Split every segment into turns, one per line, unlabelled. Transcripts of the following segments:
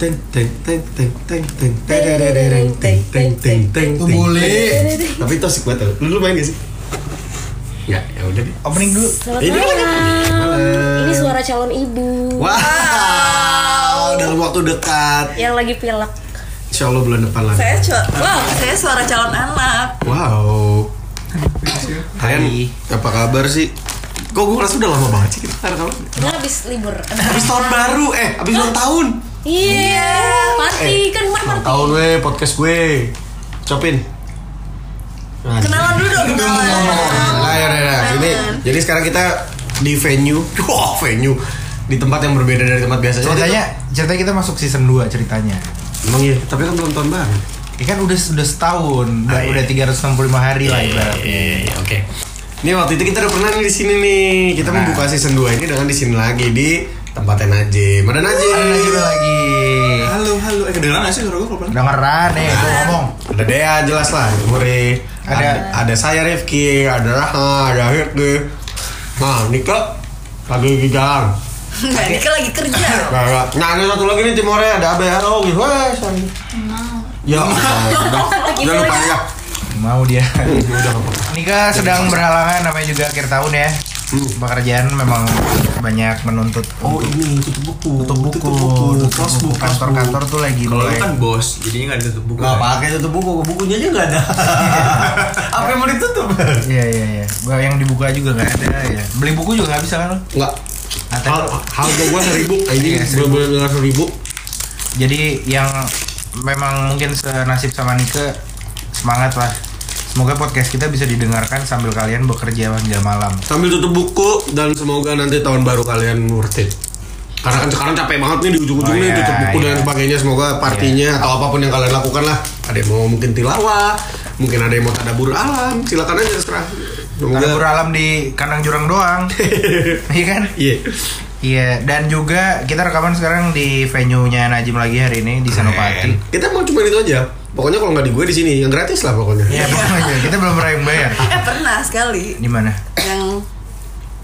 Teng teng teng teng teng teng teng teng teng teng teng
Tuh, boleh.
Tapi toxic banget tau. Lu, lu main gak sih? Enggak, ya udah deh.
Opening dulu.
Selamat
Ini-
malam.
Malam.
Ini suara calon ibu
Wow, dalam waktu dekat.
yang lagi pilek.
Insya Allah bulan depan lah.
saya cua- wow saya suara calon anak
Wow. Kalian apa kabar sih? Kok gue ngerasa udah lama banget sih kita nggak rekaman?
Kita habis libur.
Habis tahun baru, eh habis ulang tahun
Iya. Party kan kemarin
Ulang
party.
tahun gue, podcast gue Copin
kenalan dulu dong kenalan
Nah, ya, ya, ya. Ini, jadi sekarang kita di venue Wah, venue Di tempat yang berbeda dari tempat biasanya
Ceritanya, ceritanya kita masuk season 2 ceritanya.
Emang iya, tapi kan belum tahun baru
Ya kan udah sudah setahun, udah,
Ah, iya.
udah 365 hari lah ibaratnya.
Iya, iya, iya, oke Nih waktu itu kita udah pernah nih di sini nih Kita
Pernah.
membuka season 2 ini dengan di sini lagi Di tempatnya Najib Mana Najib?
Ada juga lagi.
Halo, halo. Eh, kedengeran gak sih suara gue kalau pelan?
Dengeran nih, gue ngomong.
Ada Dea jelas lah, Muri. Ada, ada,
Ada-
saya Rifki, ada Rahma, ada Hirti. Nah, Nika lagi di jalan.
nah Dika lagi kerja
Nah, nah, nah, ini satu lagi nih Timore ada Abe Halo, gitu. Wah, sorry. Ya, udah, udah lupa ya.
Mau dia.
Udah lupa.
Nika sedang berhalangan namanya juga akhir tahun ya. Pekerjaan memang banyak menuntut untuk
ini tutup buku. Oh, iya. Tutup buku.
Tutup buku. kantor-kantor tuh lagi
Kalau lu
mulai.
kan bos, jadinya nggak ditutup buku. kan?
Gak pakai tutup buku, bukunya aja gak ada. Apa yang mau ditutup?
Iya iya iya. Gua yang dibuka juga nggak ada ya. Beli buku juga nggak bisa kan? lo?
Enggak. Hal,
Atau-
harga gua seribu, ini
Iya, seribu.
belum dengar seribu.
Jadi yang memang mungkin senasib sama Nike semangat lah. Semoga podcast kita bisa didengarkan sambil kalian bekerja hingga malam.
sambil tutup buku dan semoga nanti tahun baru kalian worth it karena kan sekarang capek banget nih di ujung-ujung
Oh,
nih
iya,
tutup buku
iya.
dan sebagainya semoga partinya atau apapun yang kalian lakukan lah ada yang mau mungkin tilawah mungkin ada yang mau tadabur alam silakan aja terserah semoga
Karena beralam di kandang jurang doang. Iya kan?
iya
Iya, dan juga kita rekaman sekarang di venue-nya Najim lagi hari ini di Senopati.
kita mau cuma itu aja pokoknya kalau nggak di gue di sini yang gratis lah pokoknya
Iya, pokoknya kita belum pernah yang bayar.
eh pernah sekali
Di mana?
yang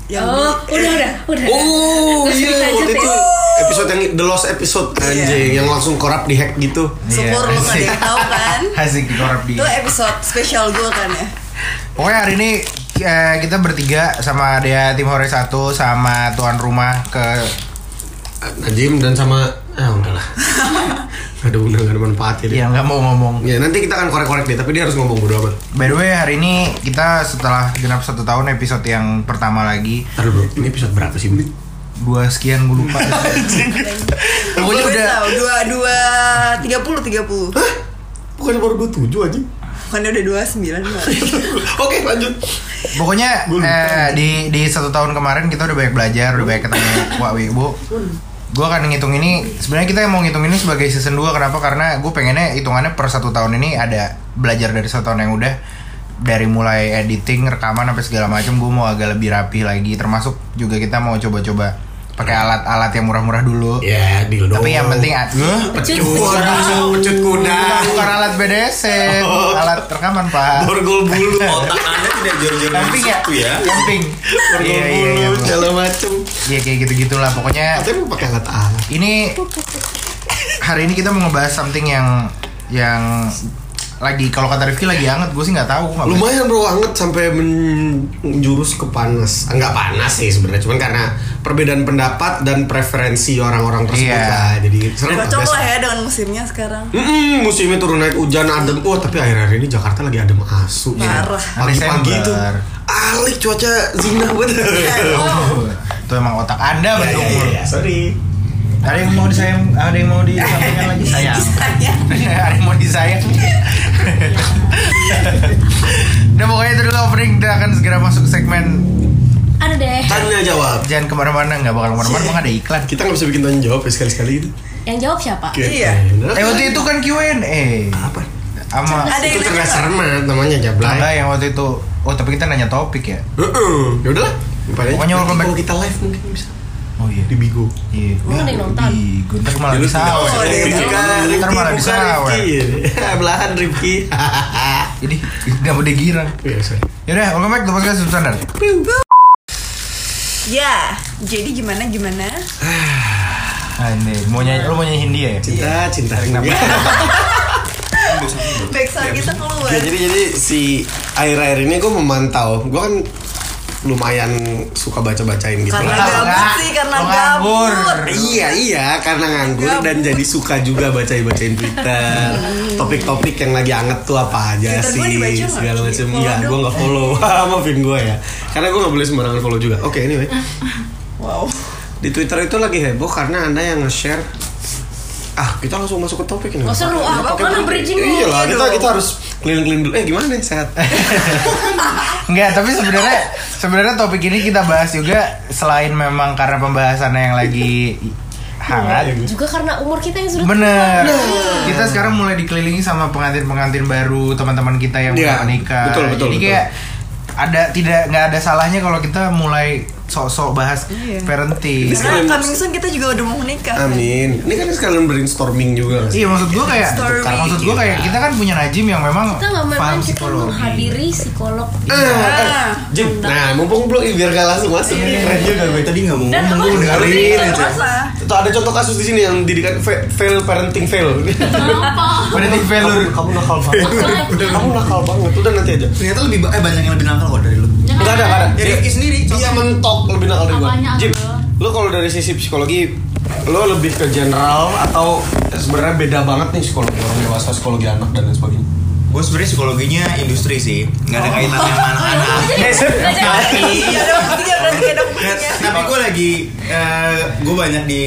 yang
Oh, udah udah udah.
oh
Terus
iya
lanjut
waktu
ya.
itu episode yang the lost episode
Iya.
anjing yang langsung korap di hack gitu
syukur lu nggak ada yang tahu kan
Asik di korup di.
itu episode spesial gue kan ya
Pokoknya hari ini eh, kita bertiga sama Dea Tim Hore 1 sama tuan rumah ke
Najim dan sama ah udahlah Nggak ada guna nggak ada manfaatnya dia.
yang nggak mau ngomong.
Ya nanti kita akan korek-korek deh, tapi dia harus ngomong bodo amat.
By the way hari ini kita setelah genap satu tahun episode yang pertama lagi
Ntar dulu, ini episode berapa sih? Ini?
dua sekian gue lupa. Pokoknya
Gua
udah
tahu, dua dua tiga puluh tiga puluh
Bukan baru 27 aja.
kan udah dua sembilan
Oke lanjut.
pokoknya
Gua lupa.
eh, di di satu tahun kemarin kita udah banyak belajar udah banyak ketemu Wak Wibu. Gue akan ngitung ini sebenarnya kita mau ngitung ini sebagai season 2 kenapa karena gue pengennya hitungannya per satu tahun ini ada belajar dari satu tahun yang udah dari mulai editing rekaman sampai segala macam gue mau agak lebih rapi lagi termasuk juga kita mau coba-coba pakai alat-alat yang murah-murah dulu.
Ya deal dong.
Tapi yang penting a-
pecut, waduh, pecut kuda,
Bukan, bukan alat BDC,
Oh.
alat rekaman pak.
borgol bulu,
Otak anda tidak jor-jor di
Camping ya,
situ ya.
camping.
borgol
Iya iya iya.
bulu,
Bu.
segala macem.
Iya kayak gitu gitulah pokoknya.
Katanya mau pakai alat alat.
Ini hari ini kita mau ngebahas something yang yang lagi kalau kata Rifki lagi anget, gue sih nggak tahu. nggak baca.
Lumayan bro anget sampai menjurus ke panas. Enggak panas sih sebenarnya, cuman karena perbedaan pendapat dan preferensi orang-orang tersebut
Iya.
lah. Jadi seru lah,
cocok
biasa.
lah ya dengan musimnya sekarang
Mm-mm, musimnya turun naik hujan adem Wah tapi akhir-akhir ini Jakarta lagi adem asu
Parah.
Pagi-pagi
Desember.
itu Alik cuaca zina banget
iya.
oh
Itu emang otak
Ya,
anda bentuk.
ya, ya, Sorry
Ada yang mau disayang, ada yang mau disampaikan lagi sayang.
saya
ada yang mau disayang. Udah pokoknya itu dulu opening kita akan segera masuk segmen
Eh.
Ada deh.
Tanya jawab
jangan kemana-mana nggak bakal kemana-mana emang ada iklan
Kita nggak bisa bikin tanya jawab ya sekali-sekali gitu
Yang jawab siapa?
Oke,
Iya.
bener.
eh waktu itu kan Q&A
Apa?
sama
Ada yang
Itu
nanya
cerdas
apa?
cermat namanya
ada
Jablay
yang waktu itu oh tapi kita nanya topik ya
Heeh. Ya udahlah Pokoknya
Pokoknya welcome back.
Kalau kita live mungkin bisa
oh iya
Di Bigo
iya
Lu ada yang nonton?
Gue ntar malah
Ya, lu
bisa
tinggal-
Oh, ada yang
Bukan,
ntar malah
Rifki,
bisa
bukan Rifki Belahan Rifki
Jadi nggak mau digirang.
Iya, sorry.
Yaudah, welcome back to podcast substandar.
Ya, jadi gimana gimana?
Anjir, mau nyanyi, lo mau nyanyiin dia ya?
Cinta, cinta. Iya.
Backsound kita keluar.
Ya, jadi jadi si akhir-akhir ini gue memantau. Gue kan lumayan suka baca-bacain gitu.
Karena
Enggak,
gabut
enggak.
sih, karena
Lo nganggur.
gabut.
Iya iya karena nganggur dan jadi suka juga bacain bacain Twitter topik-topik yang lagi anget tuh apa aja
Twitter
sih
gua dibaca nggak?
segala macam
Follow
enggak gue
dong.
nggak follow maafin gue ya karena gue nggak boleh sembarangan follow juga oke anyway
Wow.
di Twitter itu lagi heboh karena ada yang nge-share ah kita langsung masuk ke topik ini
Nggak seru, ah,
Nggak pakai
mana
topik.
bridging
iya lah
dulu?
kita kita harus keliling-keliling dulu eh gimana nih sehat
Enggak, tapi sebenarnya sebenarnya topik ini kita bahas juga selain memang karena pembahasannya yang lagi hangat.
Juga karena umur kita yang sudah
Bener. Nah, Kita sekarang mulai dikelilingi sama pengantin-pengantin baru, teman-teman kita yang
Iya,
belum menikah.
betul, betul,
Jadi
betul.
kayak ada tidak nggak ada salahnya kalau kita mulai sok-sok bahas
Iya.
parenting.
Karena
Sekalian-
coming soon kita juga udah mau menikah.
amin ini kan sekalian brainstorming juga nggak sih?
Iya, maksud gua kayak
Story.
maksud gua kayak kita kan punya Najim yang memang
kita nggak main
paham
kita
psikologi.
menghadiri psikolog
Ah, eh, Jim, nah mumpung belum biar gak langsung masuk nih keren juga gue
Tadi nggak mau
Iya. dan
ngomong,
apa
gue dengerin aja.
Apa?
Tuh ada contoh kasus di sini yang didikan fa- fail parenting fail.
Oh.
Parenting failure.
Kamu, kamu nakal banget. kamu nakal banget. Udah nanti aja.
Ternyata lebih ba- eh banyak yang lebih nakal kok dari lu.
Iya.
Enggak ada, enggak ada.
Ya, Rifki sendiri,
Dia
contoh.
mentok lebih nakal dari gua.
Apanya,
Jim,
Abel?
lo kalau dari sisi psikologi lo lebih ke general atau sebenarnya beda banget nih psikologi orang dewasa, psikologi anak dan lain sebagainya.
Gue sebenarnya psikologinya industri sih, nggak ada kaitan sama anak-anak.
Iya, ada buktinya, berarti ada
Nah,
buktinya.
tapi gue lagi gue banyak di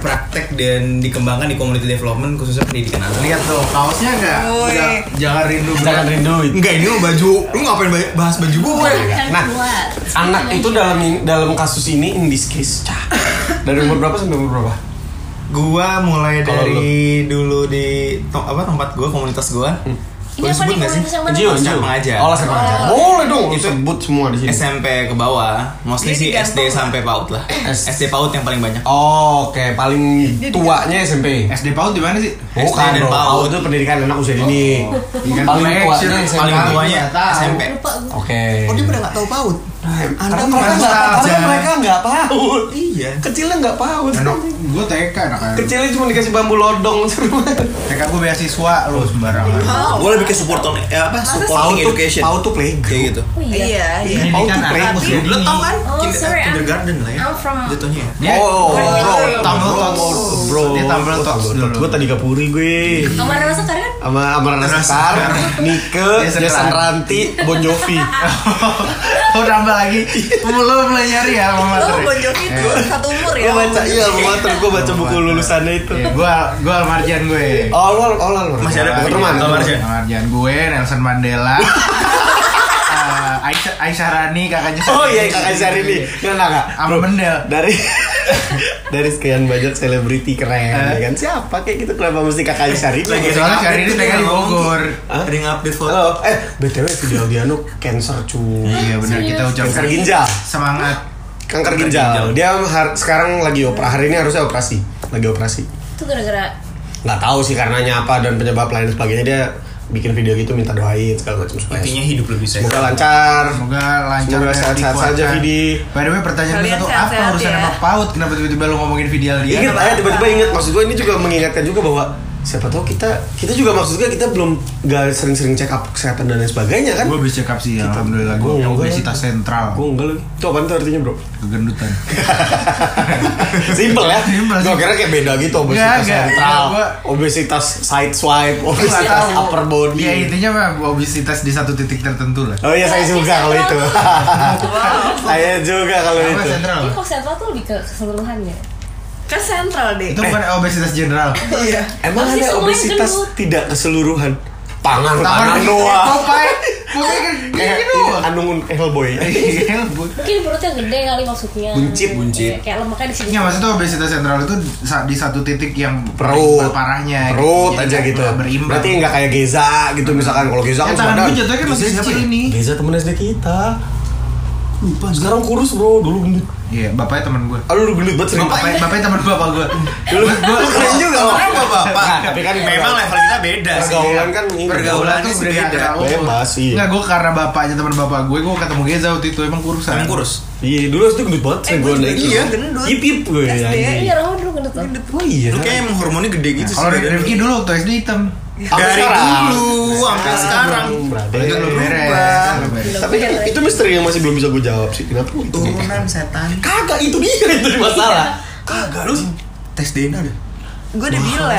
praktek dan dikembangkan di community development khususnya pendidikan anak.
Lihat tuh, kaosnya enggak?
Woi.
Jangan rindu.
Jangan rindu.
Enggak ini mau baju, lu ngapain ba- bahas baju
Iya,
gue?
Nah, anak itu dalam dalam kasus ini in this case cah. Dari umur berapa sampai umur berapa?
Gua mulai
Kalau
dari dulu di to- apa tempat gua komunitas gua.
Hmm.
ini
Boleh
apa nih
sebut nggak sih?
komunitas yang mana
Jiwa,
Laskar
jiwa.
Pengajar.
Oh, Laskar Pengajar. Boleh dong, itu sebut semua di sini.
SMP ke bawah, mostly
Jadi
sih SD
gampang.
sampai PAUD lah.
S-
SD PAUD yang paling banyak.
Oh, Oke, paling tuanya SMP.
SD PAUD di mana sih?
SD
Bukan
dan
dong,
PAUD.
PAUD itu pendidikan anak usia dini.
Ikan
Paling
connection,
tuanya SMP.
Paling
Paling
tuanya
iya, tahu.
SMP.
lupa gue
Oke.
pada nggak tahu PAUD.
Karena mereka
Anda
nggak
merasa
karena
aja.
mereka nggak PAUD.
Iya.
Kecilnya nggak PAUD.
Anak gue TK anak
Kecilnya cuma dikasih bambu lodong suruh.
TK gue beasiswa lu sembarangan.
Gue Oh. lebih ke support on eh, apa?
PAUD
Supporting
tuh
education.
PAUD tuh playgroup.
kayak gitu.
oh iya
Iya, iya.
PAUD tuh
Pendidikan
playgroup.
kan anak usia
Lu tau kan?
Oh,
Kinder-
sorry, I'm-
Kindergarten lah ya.
I'm from
Jatuhnya. ya.
Dia
Oh, bro,
tumble tots.
bro.
Dia tumble tots dulu.
Gue tadi kapuri gue.
kamar masuk kan
Sama Amara
Amara
Nasar,
Sekar,
Nike,
Jason
Jason Ranti, Bon Jovi.
Oh, nambah lagi. Lu mulai nyari ya sama
Lo
materi.
Bon Jovi itu satu umur ya.
Gue Eh. baca, iya, gue baca buku lulusannya itu.
Iya, gua gua Almarjan gue.
Oh, lu, oh, lu, lu.
Masih
Teman,
ada bukunya,
teman.
Almarjan.
Almarjan gue, Nelson Mandela. Eh, Aisyah Aisyah Rani kakaknya.
Oh iya, Kak Azhar ini. Enggak, enggak, enggak.
Sama
Bro,
Mendel.
Dari dari sekian banyak selebriti keren, ya kan? Siapa kayak gitu? Kenapa mesti Kak Azhar ini?
Lagi
Soalnya
ada
hari ini
update
TK di
tuh,
Bogor.
Hah?
Ada yang update foto.
Halo, eh BTW video Diano cancer cuy.
Iya benar kita
Kanker
ucapkan
ginjal.
semangat.
Kanker ginjal. Dia har- sekarang lagi operasi. Hari ini harusnya operasi. Lagi operasi.
itu gara-gara
Nggak tahu sih karenanya apa dan penyebab lain dan sebagainya dia bikin video gitu minta doain segala macam supaya
Intinya hidup lebih sehat.
semoga lancar.
Semoga lancar
Semoga
dan
sehat-sehat
dikuatkan.
saja, Vidi.
By the way pertanyaan gue
Kalian
satu apa
sehat-sehat
urusan
ya.
sama PAUD? Kenapa tiba-tiba lu ngomongin video dia?
Ingat aja tiba-tiba ingat maksud gue ini juga mengingatkan juga bahwa siapa tahu kita kita juga maksud gue kita belum gak sering-sering check up kesehatan dan lain sebagainya kan?
Gue bisa cekap sih alhamdulillah gue
Gua- gua-
obesitas sentral
Gue enggak lagi. Itu apaan tuh artinya bro?
kegendutan.
Simple ya? Gue
Simple, simple.
kira kayak beda gitu obesitas
Enggak, enggak.
sentral,
Gua-
obesitas side swipe,
Gua nggak
obesitas
tahu.
upper body.
Ya intinya mah obesitas di satu titik tertentu lah.
Oh iya saya juga kalau itu. saya juga kalau
Apa
itu.
sentral?
ini kok sentral tuh lebih ke keseluruhannya
Kan sentral
Eh.
deh.
Itu bukan obesitas general.
Iya.
Emang
Pasti
ada
semuanya
obesitas
gendut.
tidak keseluruhan? Tangan, tangan doang. Iya.
Popeye. Popeye kan gini doang.
Anungun Hellboy.
Iya, Bu.
mungkin perutnya gede kali maksudnya
Buncit.
Buncit.
Iya, kayak lemaknya di sini
Ya maksudnya obesitas sentral itu sa- di satu titik yang
Perut.
parahnya gitu.
Perut aja
Jadi nggak
gitu.
berimbang.
Berarti nggak kayak Geza gitu misalkan kalau Geza kan
Ya, tangan
badan.
gue jatuhnya kan masih
Geza
kecil
siapa?
ini.
Geza temen SD kita. Lupa sekarang kurus bro, dulu gendut.
Iya, bapaknya teman gue.
Aduh lu gendut banget sering.
Bapaknya, bapaknya teman bapak gue. Dulu gue
Keren juga Bang.
Orang bapak.
Nah, tapi kan
Memang
pergaulan-
level kita beda sih.
pergaulan kan ini.
Pergaulan tuh
sih
udah
beda.
beda.
Bebas, iya.
Enggak, gue karena bapaknya teman bapak gue, gue ketemu Geza waktu itu emang kurusan.
Emang kurus.
Iya, dulu itu gendut banget sering
Eh,
gue
gua juga
naik. gitu.
iya, gendut.
Ip ip gue
SD.
anjing.
Iya, Rahman dulu gendut loh.
Oh iya.
Lu kayak emang hormonnya gede gitu
Kalau
sih.
Rifki dulu waktu SD hitam.
Sampai
dari
sekarang.
dulu sampai sekarang.
Berarti-
Itu belum beres. itu belum beres.
Tapi kan itu misteri yang masih belum bisa gue jawab sih. Kenapa? itu?
Turunan setan.
Kagak itu dia itu masalah.
Kagak lu tes DNA deh.
Gue udah bilang.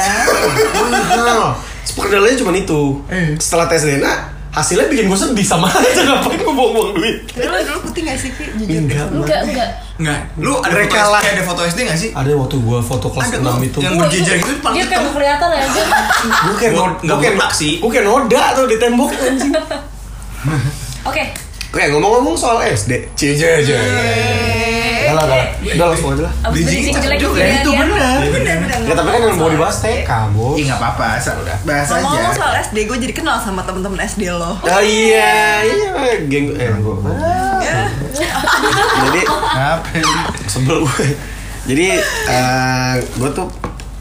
Mahal. Perkenalannya cuma itu.
Eh.
Setelah tes DNA, hasilnya bikin gue sedih sama aja ngapain gue buang-buang duit.
Tapi lu dulu putih gak sih, Ki? Jujur.
Enggak.
Enggak, enggak.
Enggak. Lu ada foto
Mereka lah.
SD, ada foto SD enggak sih?
Ada waktu gue foto kelas
Ada
6
kok,
itu.
yang-
Wah,
berjejer gitu paling
Dia kayak
ketemu.
gak kelihatan aja.
Gue kayak
Gua-
nod-
nggak
gua kayak
botak sih.
Gue kayak noda tuh di tembok anjing.
Oke.
Oke, ngomong-ngomong soal SD. Cije aja.
Eh.
Udah lah, udah lah. udah langsung aja lah.
Abis
Bridging
bridging
cocok
jelek
juga.
juga
Iya,
ya.
Itu
dia.
benar.
Bener-bener.
Ya tapi kan yang mau dibahas TK, Bu.
Iya,
Ih, enggak apa-apa, asal udah. Bahas aja.
Ngomong-ngomong soal SD, gue jadi kenal sama temen-temen SD lo.
Ah iya, iya geng eh gua. Jadi
Apa?
sebel gue jadi eh gue tuh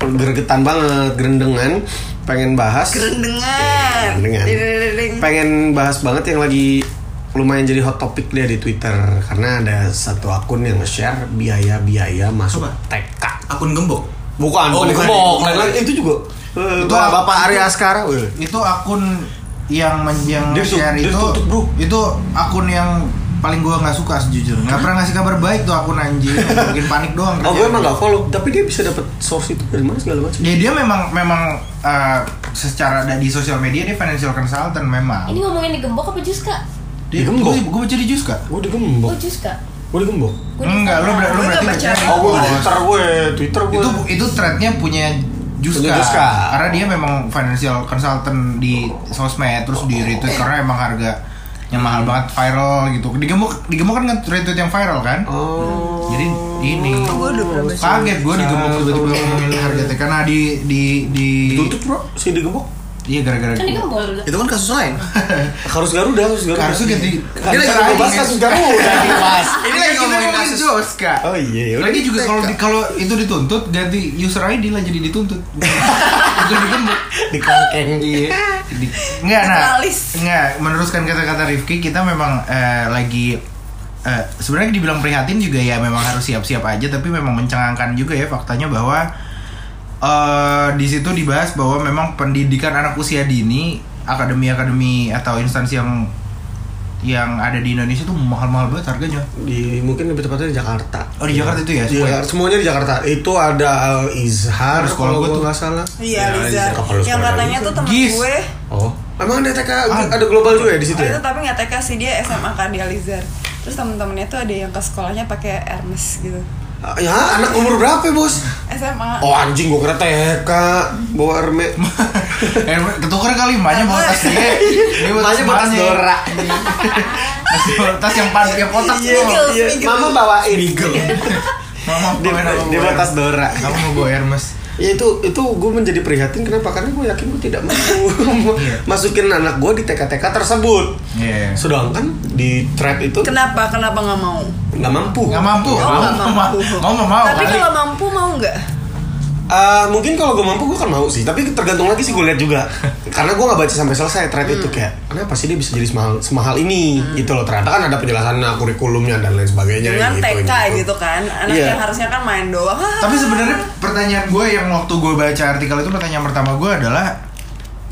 gergetan banget gerendengan pengen bahas
Gerendengan.
Gerendengan.
Dedededeng.
pengen bahas banget yang lagi lumayan jadi hot topic dia di Twitter karena ada satu akun yang nge-share biaya-biaya masuk
Apa?
TK.
Akun gembok.
Bukan,
Oh,
bukan
bukan.
gemuk, lain-lain. itu juga. Eh, Bapak,
Itu apa? Iya.
Bapak Arya Askara. Oh, weh.
Itu akun yang men- yang
Dia tuh-
share
dia
itu
tutup, bro.
itu akun yang paling gue nggak suka sejujurnya nggak pernah ngasih kabar baik tuh akun anjing bikin panik doang
Oh,
kerjaan.
gue emang gak follow, tapi dia bisa dapat source itu dari mana segala macam.
Ya dia memang memang eh, secara ada di sosial media dia financial consultant memang.
Ini ngomongin di gembok apa jus kak?
Dia
Dia gembok.
gue gue baca di jus kak?
Gue digembok.
Oh jus kak.
Gue digembok.
Gua di
Enggak, lu,
Instagram.
ber- lu
Gue
berarti
nggak baca.
baca.
Oh, gue Twitter gue, Twitter gue.
Itu itu threadnya punya jus
Punya
kak.
Jus Kak.
Karena dia memang financial consultant di sosmed terus di retweet karena emang harga yang mahal banget viral gitu. Digembok digembok kan retweet yang viral kan?
Oh.
Jadi ini
Gua udah pernah baca.
kaget gue digembok tiba-tiba ngomongin harga TK nah di di di
Ditutup bro, si digembok.
iya gara-gara
Kan di gembok.
Itu kan kasus lain.
Harus Garuda, harus Garuda.
harusnya ganti
Dia lagi ngebahas kasus Garuda dibahas.
Ini lagi ngomongin kasus.
jus kak.
Oh iya, udah.
Lagi Nah, juga kalau di- kalau itu dituntut ganti user ID lah jadi dituntut. itu digembok.
Di kangkeng.
Iya. Di- Enggak nah.
Naturalis.
Enggak, meneruskan kata-kata Rifki kita memang eh, lagi eh, sebenarnya dibilang prihatin juga ya memang harus siap-siap aja tapi memang mencengangkan juga ya faktanya bahwa eh di situ dibahas bahwa memang pendidikan anak usia dini akademi-akademi atau instansi yang yang ada di Indonesia tuh mahal-mahal banget harganya.
Di mungkin lebih tepatnya di Jakarta.
Oh, di Jakarta itu ya,
Di Jakarta. semuanya di Jakarta. Itu ada Al Izhar
Harus
sekolah
kalau
gue
gua
tuh
tuh.
nggak salah.
Iya,
Ya,
Liza.
Liza.
Kalau
Yang
sekolah
katanya
Liza.
tuh temen
Gis.
gue.
Oh. Emang ada TK
Ada.
ada global juga ya di situ
Oh,
ya?
itu tapi nggak TK sih dia SMA kan dia Lizar. Terus temen-temennya tuh ada yang ke sekolahnya pakai Hermes gitu.
Ah, Ya, anak umur berapa, ya, Bos?
SMA.
Oh, anjing gua kira TK bawa E. Hermes.
Eh, ketuker kali emaknya bawa tas dia. Dia bawa tas
Masih batas
emaknya.
Dora.
Tas, tas yang pan yang kotak
Iya,
tuh.
iya. Mama bawain.
Mama
Dia,
pengen aku
dia
bawa
batas
Hermes.
Dora.
Kamu mau bawa Hermes?
Ya itu itu gue menjadi prihatin kenapa karena gue yakin gue tidak mau masukin anak gue di TK-TK tersebut.
Iya.
Sedangkan di trap itu
Kenapa? Kenapa nggak mau?
nggak mampu.
Nggak mampu.
Oh,
Mau
nggak mampu.
mau mau mau
Tapi
kali.
kalau mampu mau nggak?
Eh, mungkin kalau gue mampu gue kan mau sih, tapi tergantung lagi sih gue lihat juga. karena gue nggak baca sampai selesai thread
Hmm.
itu kayak kenapa sih dia bisa jadi semahal semahal ini gitu loh. Ternyata kan ada penjelasannya kurikulumnya dan lain sebagainya.
Dengan
gitu,
TK gitu kan. Anak
Iya.
yang harusnya kan main doang.
Tapi sebenarnya pertanyaan gue yang waktu gue baca artikel itu pertanyaan pertama gue adalah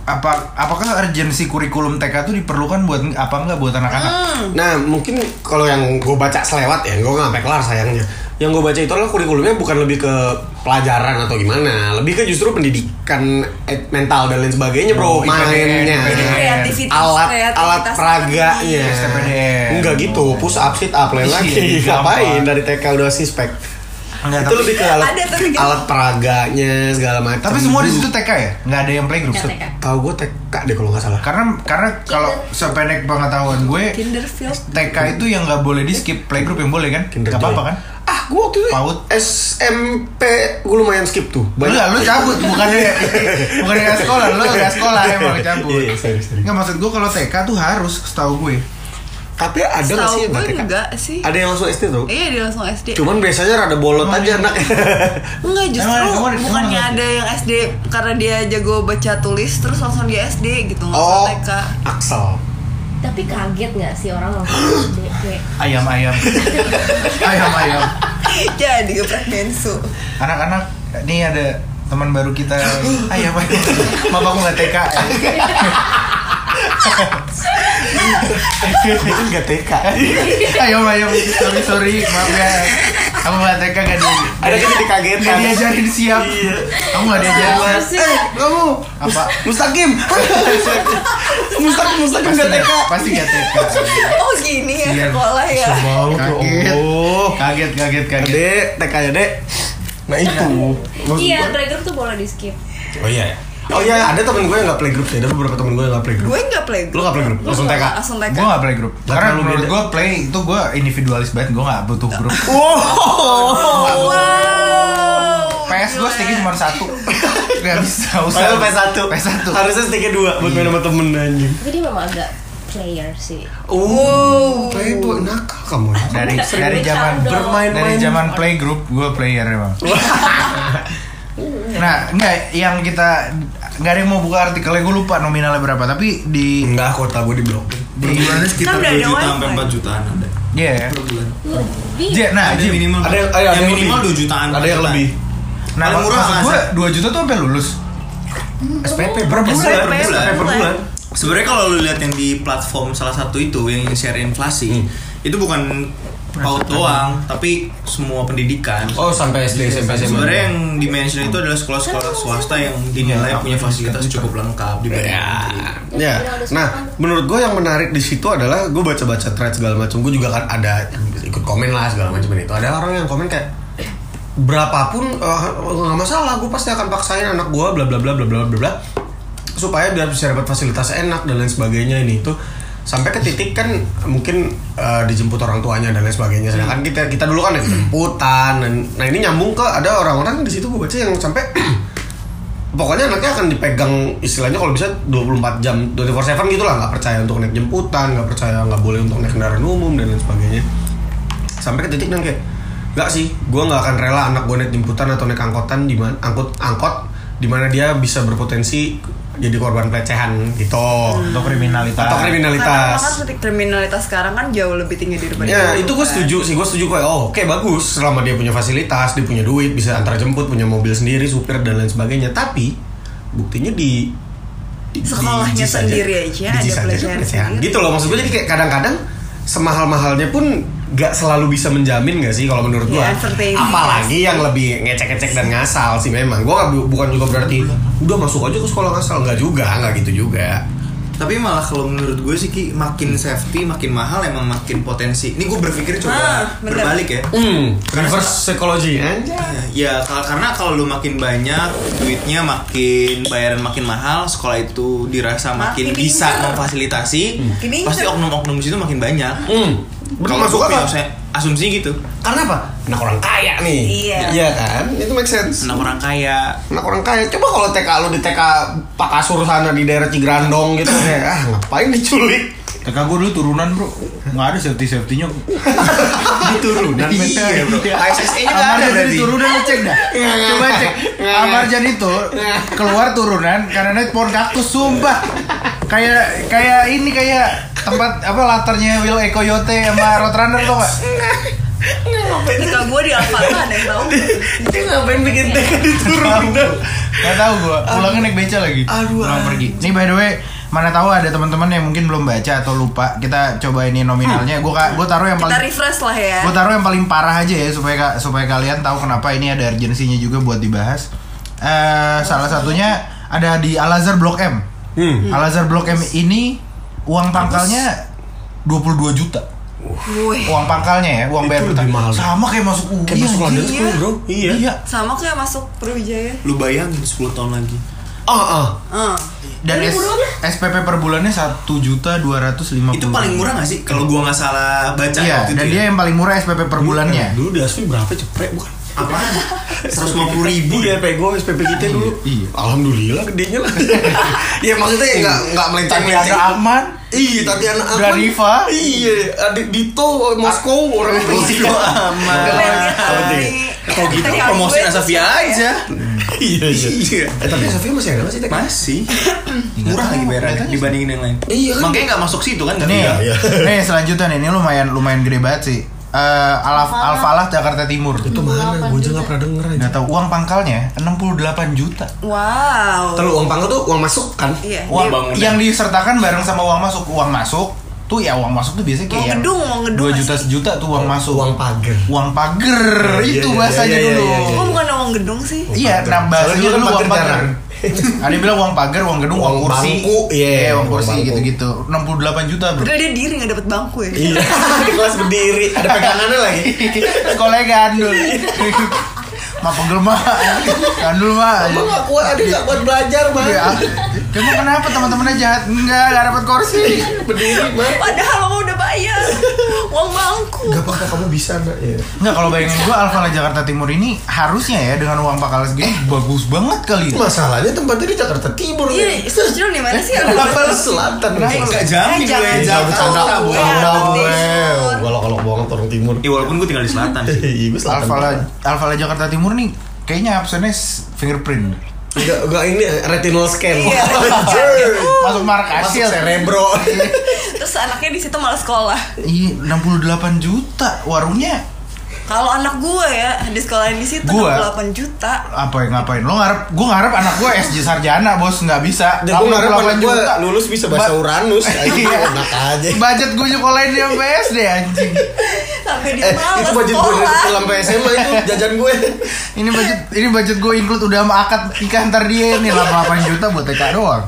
apa apakah urgensi kurikulum TK itu diperlukan buat apa enggak buat anak-anak?
Nah mungkin kalau yang gue baca selewat ya, gue nggak sampai kelar sayangnya. Yang gue baca itu adalah kurikulumnya bukan lebih ke pelajaran atau gimana, lebih ke justru pendidikan eh, mental dan lain sebagainya bro,
Oh, IPDN,
mainnya,
IPDN.
Kreativitas-
alat iya. alat
kreativitas
peraganya,
sendiri.
STPDN.
enggak gitu, push up sit up lain
Iya,
lagi,
gampang.
ngapain dari TK udah sispek.
Enggak,
itu
tapi-
lebih ke alat,
Ada tapi kan-
alat peraganya segala macam.
Tapi semua di situ TK ya? Nggak ada yang playgroup.
Enggak,
Sep?
TK.
Tahu gue TK deh kalau nggak salah.
Karena karena kalau sependek pengetahuan gue
Kinderfield.
TK itu yang nggak boleh di skip playgroup yang boleh kan?
Kinder
Gak
Joy.
apa-apa kan?
Ah, gue waktu itu
Paut.
SMP gue lumayan skip tuh.
Lu
Banyak-
lu cabut bukannya bukannya nggak sekolah, lu nggak sekolah emang cabut.
Iya, iya, sorry, sorry.
Nggak maksud gue kalau TK tuh harus setahu gue.
Tapi ada nggak
Setahu
sih
gue
BTK?
enggak sih.
Ada yang langsung SD tuh?
Iya dia langsung SD.
Cuman biasanya rada
Oh,
bolot
iya.
aja anak.
Enggak justru
Emang ada- emang ada-
bukannya
emang ada-
ada yang SD karena dia jago baca tulis terus langsung dia SD gitu nggak
oh,
usah TK.
Axel.
Tapi kaget nggak sih orang langsung gede kayak
ayam ayam ayam ayam
Jadi geprek bensu.
anak-anak nih ada teman baru kita ayam ayam maaf aku nggak eh. TK
Mungkin nggak TK.
ayam ayam sorry sorry maaf ya aku nggak TK gak di
Ada kan jadi kagetan.
nggak diajarin siap
Iya.
kamu nggak diajarin
Apa sih?
Eh, kamu
apa
Mustaqim. Mustaqim, Mustaqim nggak TK.
pasti nggak TK
Oh gini ya
Iya.
sekolah ya.
Bau tuh.
Kaget.
Oh.
kaget kaget kaget
Dek, TK ya, Dek. Nah, itu.
Iya, playground tuh boleh di skip.
Oh iya. ya? Oh iya, ada temen gue yang nggak playgroup sih. Ada beberapa temen gue yang nggak playgroup.
Gue nggak play
Lo nggak playgroup?
Gue
Langsung TK.
nggak- Langsung TK.
gue gak play grup
Gak
karena
terlalu
menurut
beda.
gue play itu gue individualis banget gue gak butuh grup
Wow.
Wow.
PS gue
Gila.
sticknya cuma satu Gak bisa usah
Oh, Padahal PS1.
PS1
Harusnya sticknya dua buat main sama temen anjing.
Tapi dia memang agak player sih.
Oh, playboy nakal kamu ya.
Dari dari
Sering
zaman
bercanda.
bermain dari
Bermain-main.
zaman play grup gue player emang Nah, enggak yang kita nggak ada yang mau buka artikelnya gue lupa nominalnya berapa tapi di
Enggak, kota gue di blok.
Per bulannya sekitar
Kan udah
2
ada
juta
wifi.
sampai 4 jutaan ada.
ya.
Per bulan.
Lebih.
J, nah,
Ada
Jim.
minimal.
Ada yang, eh, ada
yang,
yang lebih.
minimal 2 jutaan.
Ada yang
4
lebih.
jutaan.
Nah,
Paling murah
maksud
nggak
gue
sih?
2 juta tuh sampai lulus.
SPP per bulan,
SPP
per bulan,
per
Eh, per bulan.
bulan.
Sebenarnya kalau lu lihat yang di platform salah satu itu yang share inflasi,
Hmm.
itu bukan PAUD doang, tapi semua pendidikan.
Oh, sampai SD, SMP, SMA.
Sebenarnya yang dimention itu adalah sekolah-sekolah
Kan
swasta yang dinilai
Iya,
punya fasilitas cukup lengkap di
Ya, nah menurut gue yang menarik di situ adalah gue baca-baca thread segala macam. Gue juga kan ada ikut komen lah segala macam itu. Ada orang yang komen kayak berapapun eh, nggak masalah, gue pasti akan paksain anak gue bla bla bla bla bla bla bla supaya biar bisa dapat fasilitas enak dan lain sebagainya ini itu sampai ke titik kan mungkin eh, dijemput orang tuanya dan lain sebagainya sedangkan kita kita dulu kan ada jemputan dan nah ini nyambung ke ada orang-orang di situ gue baca yang sampai pokoknya anaknya akan dipegang istilahnya kalau bisa 24 jam 24/7 gitu lah nggak percaya untuk naik jemputan nggak percaya nggak boleh untuk naik kendaraan umum dan lain sebagainya sampai ke titik yang kayak nggak sih gue nggak akan rela anak gue naik jemputan atau naik angkotan di mana angkut angkot di mana dia bisa berpotensi jadi korban pelecehan gitu
Untuk kriminalitas.
atau kriminalitas
Karena kan kriminalitas sekarang kan jauh lebih tinggi daripada
Ya
dulu,
itu gue
kan.
setuju sih, gue setuju kayak oh oke bagus selama dia punya fasilitas, dia punya duit, bisa antar jemput, punya mobil sendiri, supir dan lain sebagainya. Tapi buktinya di, di di
Sekolahnya
JIS
sendiri aja
di
ada
JIS aja
pelecehan
tuh pelecehan.
sendiri.
Gitu loh maksud gue jadi kayak kadang-kadang semahal-mahalnya pun gak selalu bisa menjamin gak sih kalau menurut gue
Ya, entertaining.
apalagi yang lebih ngecek-ngecek dan ngasal sih memang gue bukan juga berarti udah masuk aja ke sekolah ngasal nggak juga nggak gitu juga
Tapi malah kalau menurut gue sih Ki, makin safety, makin mahal emang makin potensi. Ini gue berpikir
Ah,
coba
bener.
berbalik ya.
hmm reverse psychology anjay
Ya kal- karena kalau lu makin banyak duitnya makin bayaran makin mahal sekolah itu dirasa
Makin
makin, bisa
incer.
memfasilitasi
Makin incer.
pasti oknum-oknum di situ makin banyak.
hmm
Kalau
masuk
gue
akal.
punya asumsi gitu.
Karena apa? Anak orang kaya nih.
Iya.
kan? Itu make sense.
Anak orang kaya
Anak orang kaya. Coba kalau TK lu di TK Pak Kasur sana di daerah Cigrandong gitu kayak ah ngapain diculik?
TK gue dulu turunan bro Gak ada safety safety-nya
Ah, Diturunan ya,
Iya, bro.
ASSE-nya nggak
Amar
ada
jadi
tadi.
turunan lu cek dah Coba cek Amar jadi itu Keluar turunan Karena naik pohon kaktus Sumpah Kayak Kayak ini kayak Tempat Apa latarnya Will Eko Yote Sama Roadrunner tau gak
Ketika gue di Alfata ada yang tahu.
Dia ngapain bikin TK diturunan?
Gak tau gue Pulangnya naik beca lagi
Aduh,
Pulang pergi Nih by the way Mana tahu ada teman-teman yang mungkin belum baca atau lupa Kita coba ini nominalnya Gue gue taruh yang
Kita
paling
refresh lah ya.
Gue taruh yang paling parah aja ya supaya ka- supaya kalian tahu kenapa ini ada urgensinya juga buat dibahas. Eh salah satunya ada di Al Azhar Blok M.
Hmm.
Al Azhar Blok M ini uang pangkalnya 22 juta.
Wih.
Uang pangkalnya ya, uang bayar
Itu
betah.
lebih mahal.
Sama kayak masuk UI.
Kayak masuk
anjing.
London
iya.
School bro. Iya.
Iya.
Sama kayak masuk Perwijaya.
lu bayangin 10 tahun lagi.
Ah ah.
Ah.
Dan S- SPP per bulannya 1 juta 250.
Itu paling murah gak sih? Kalau gua nggak salah baca
Iya,
waktu
dan
itu
dia
ya.
yang paling murah SPP per bulannya.
Dulu di Asfi berapa cepet bukan?
Apaan? seratus lima puluh ribu ya
PP gue SPP kita dulu
Iya.
alhamdulillah gedenya lah ya maksudnya ya nggak nggak melenceng
Tapi ada aman.
Iya, Tatiana Ahmad.
Bradiva.
Iya, adik Dito Moskow orang Iya. Rusia. Ah,
ya.
Kalau gitu promosi Asafia aja
Iya,
Iya.
Eh, tapi Sofia masih ada masih ada.
Masih Murah lagi
Nggak
bayarannya
tahu.
dibandingin yang lain
kan? Iya, kan?
Makanya nggak masuk situ kan nggak
Nih,
iya.
Iya.
nih selanjutnya nih, ini lumayan lumayan gede banget sih. Eh, Al
Al-Falah.
Falah Jakarta Timur.
Itu mana? Gue juga nggak pernah denger aja.
Nggak tahu uang pangkalnya ya? 68 juta.
Wow.
Terlalu uang pangkal tuh uang masuk kan?
Iya.
Uang
bangunan.
yang disertakan bareng sama uang masuk, uang masuk tuh ya uang masuk tuh biasanya kayak
Uang
yang
gedung, uang gedung
2 juta
masih.
sejuta tuh uang masuk.
Oh, Uang pagar.
uang pager
Iya,
itu
iya,
bahasanya
iya, iya,
dulu.
iya, iya.
Kok bukan uang gedung sih?
Iya,
pagar.
nah bahasanya
Soalnya
kan
dulu
uang
pagar
pager.
jarang.
Ada yang bilang uang pager, uang gedung, uang,
Uang
kursi.
bangku, iya,
Iya,
uang
uang kursi
bangku.
gitu-gitu. 68 juta, Bro.
Padahal dia diri nggak dapet bangku ya.
Iya, di kelas berdiri ada pegangannya lagi.
Sekolah gandul. Ma pegel mah Gandul mah
Emang nggak kuat, ada nggak buat belajar
Iya.
bang?
Kamu kenapa teman-temannya jahat? Enggak, gak dapat kursi
Berdiri bang.
Padahal lo udah bayar uang bangku.
Gak apa-apa kamu bisa nak ya.
Enggak, kalau bayangin gue Alfa Jakarta Timur ini Harusnya ya dengan uang pakal segini Bagus banget kali ya
Masalahnya tempatnya di Jakarta Timur.
Iya, setuju di mana sih?
Kenapa lu selatan?
Eh, nggak jamin
Eh, jangan, Iya,
gue.
Jangan bercanda,
Jakarta, gue
bercanda
orang
gue.
timur.
Kalau kalau bohong orang timur.
Ya walaupun gue tinggal di selatan sih
Iya, gue selatan.
Alfa Alfa Jakarta Timur nih Kayaknya absennya s- fingerprint
Enggak, enggak ini retinal scan.
Iya.
Anjir.
Masuk Iya. markas
Masuk cerebro.
Terus anaknya di situ malah sekolah.
Iya, 68 juta warungnya
Kalau anak gue ya di sekolah di situ
Gua?
68 juta.
apa yang ngapain lo ngarep gue ngarep anak gue SJ sarjana bos nggak bisa
Dan gue ngarep anak
88
gue
juta.
lulus bisa bahasa
Ba-
Uranus. Anjir,
Iya.
Enak aja.
budget gue nyekolahin dia sampai SD anjing
Sampai dia
Eh,
malas
itu budget gue dari
sekolah.
kecil sampai SMA itu jajan gue.
ini budget ini budget gue include udah sama akad nikah ntar dia nih 88 juta buat TK doang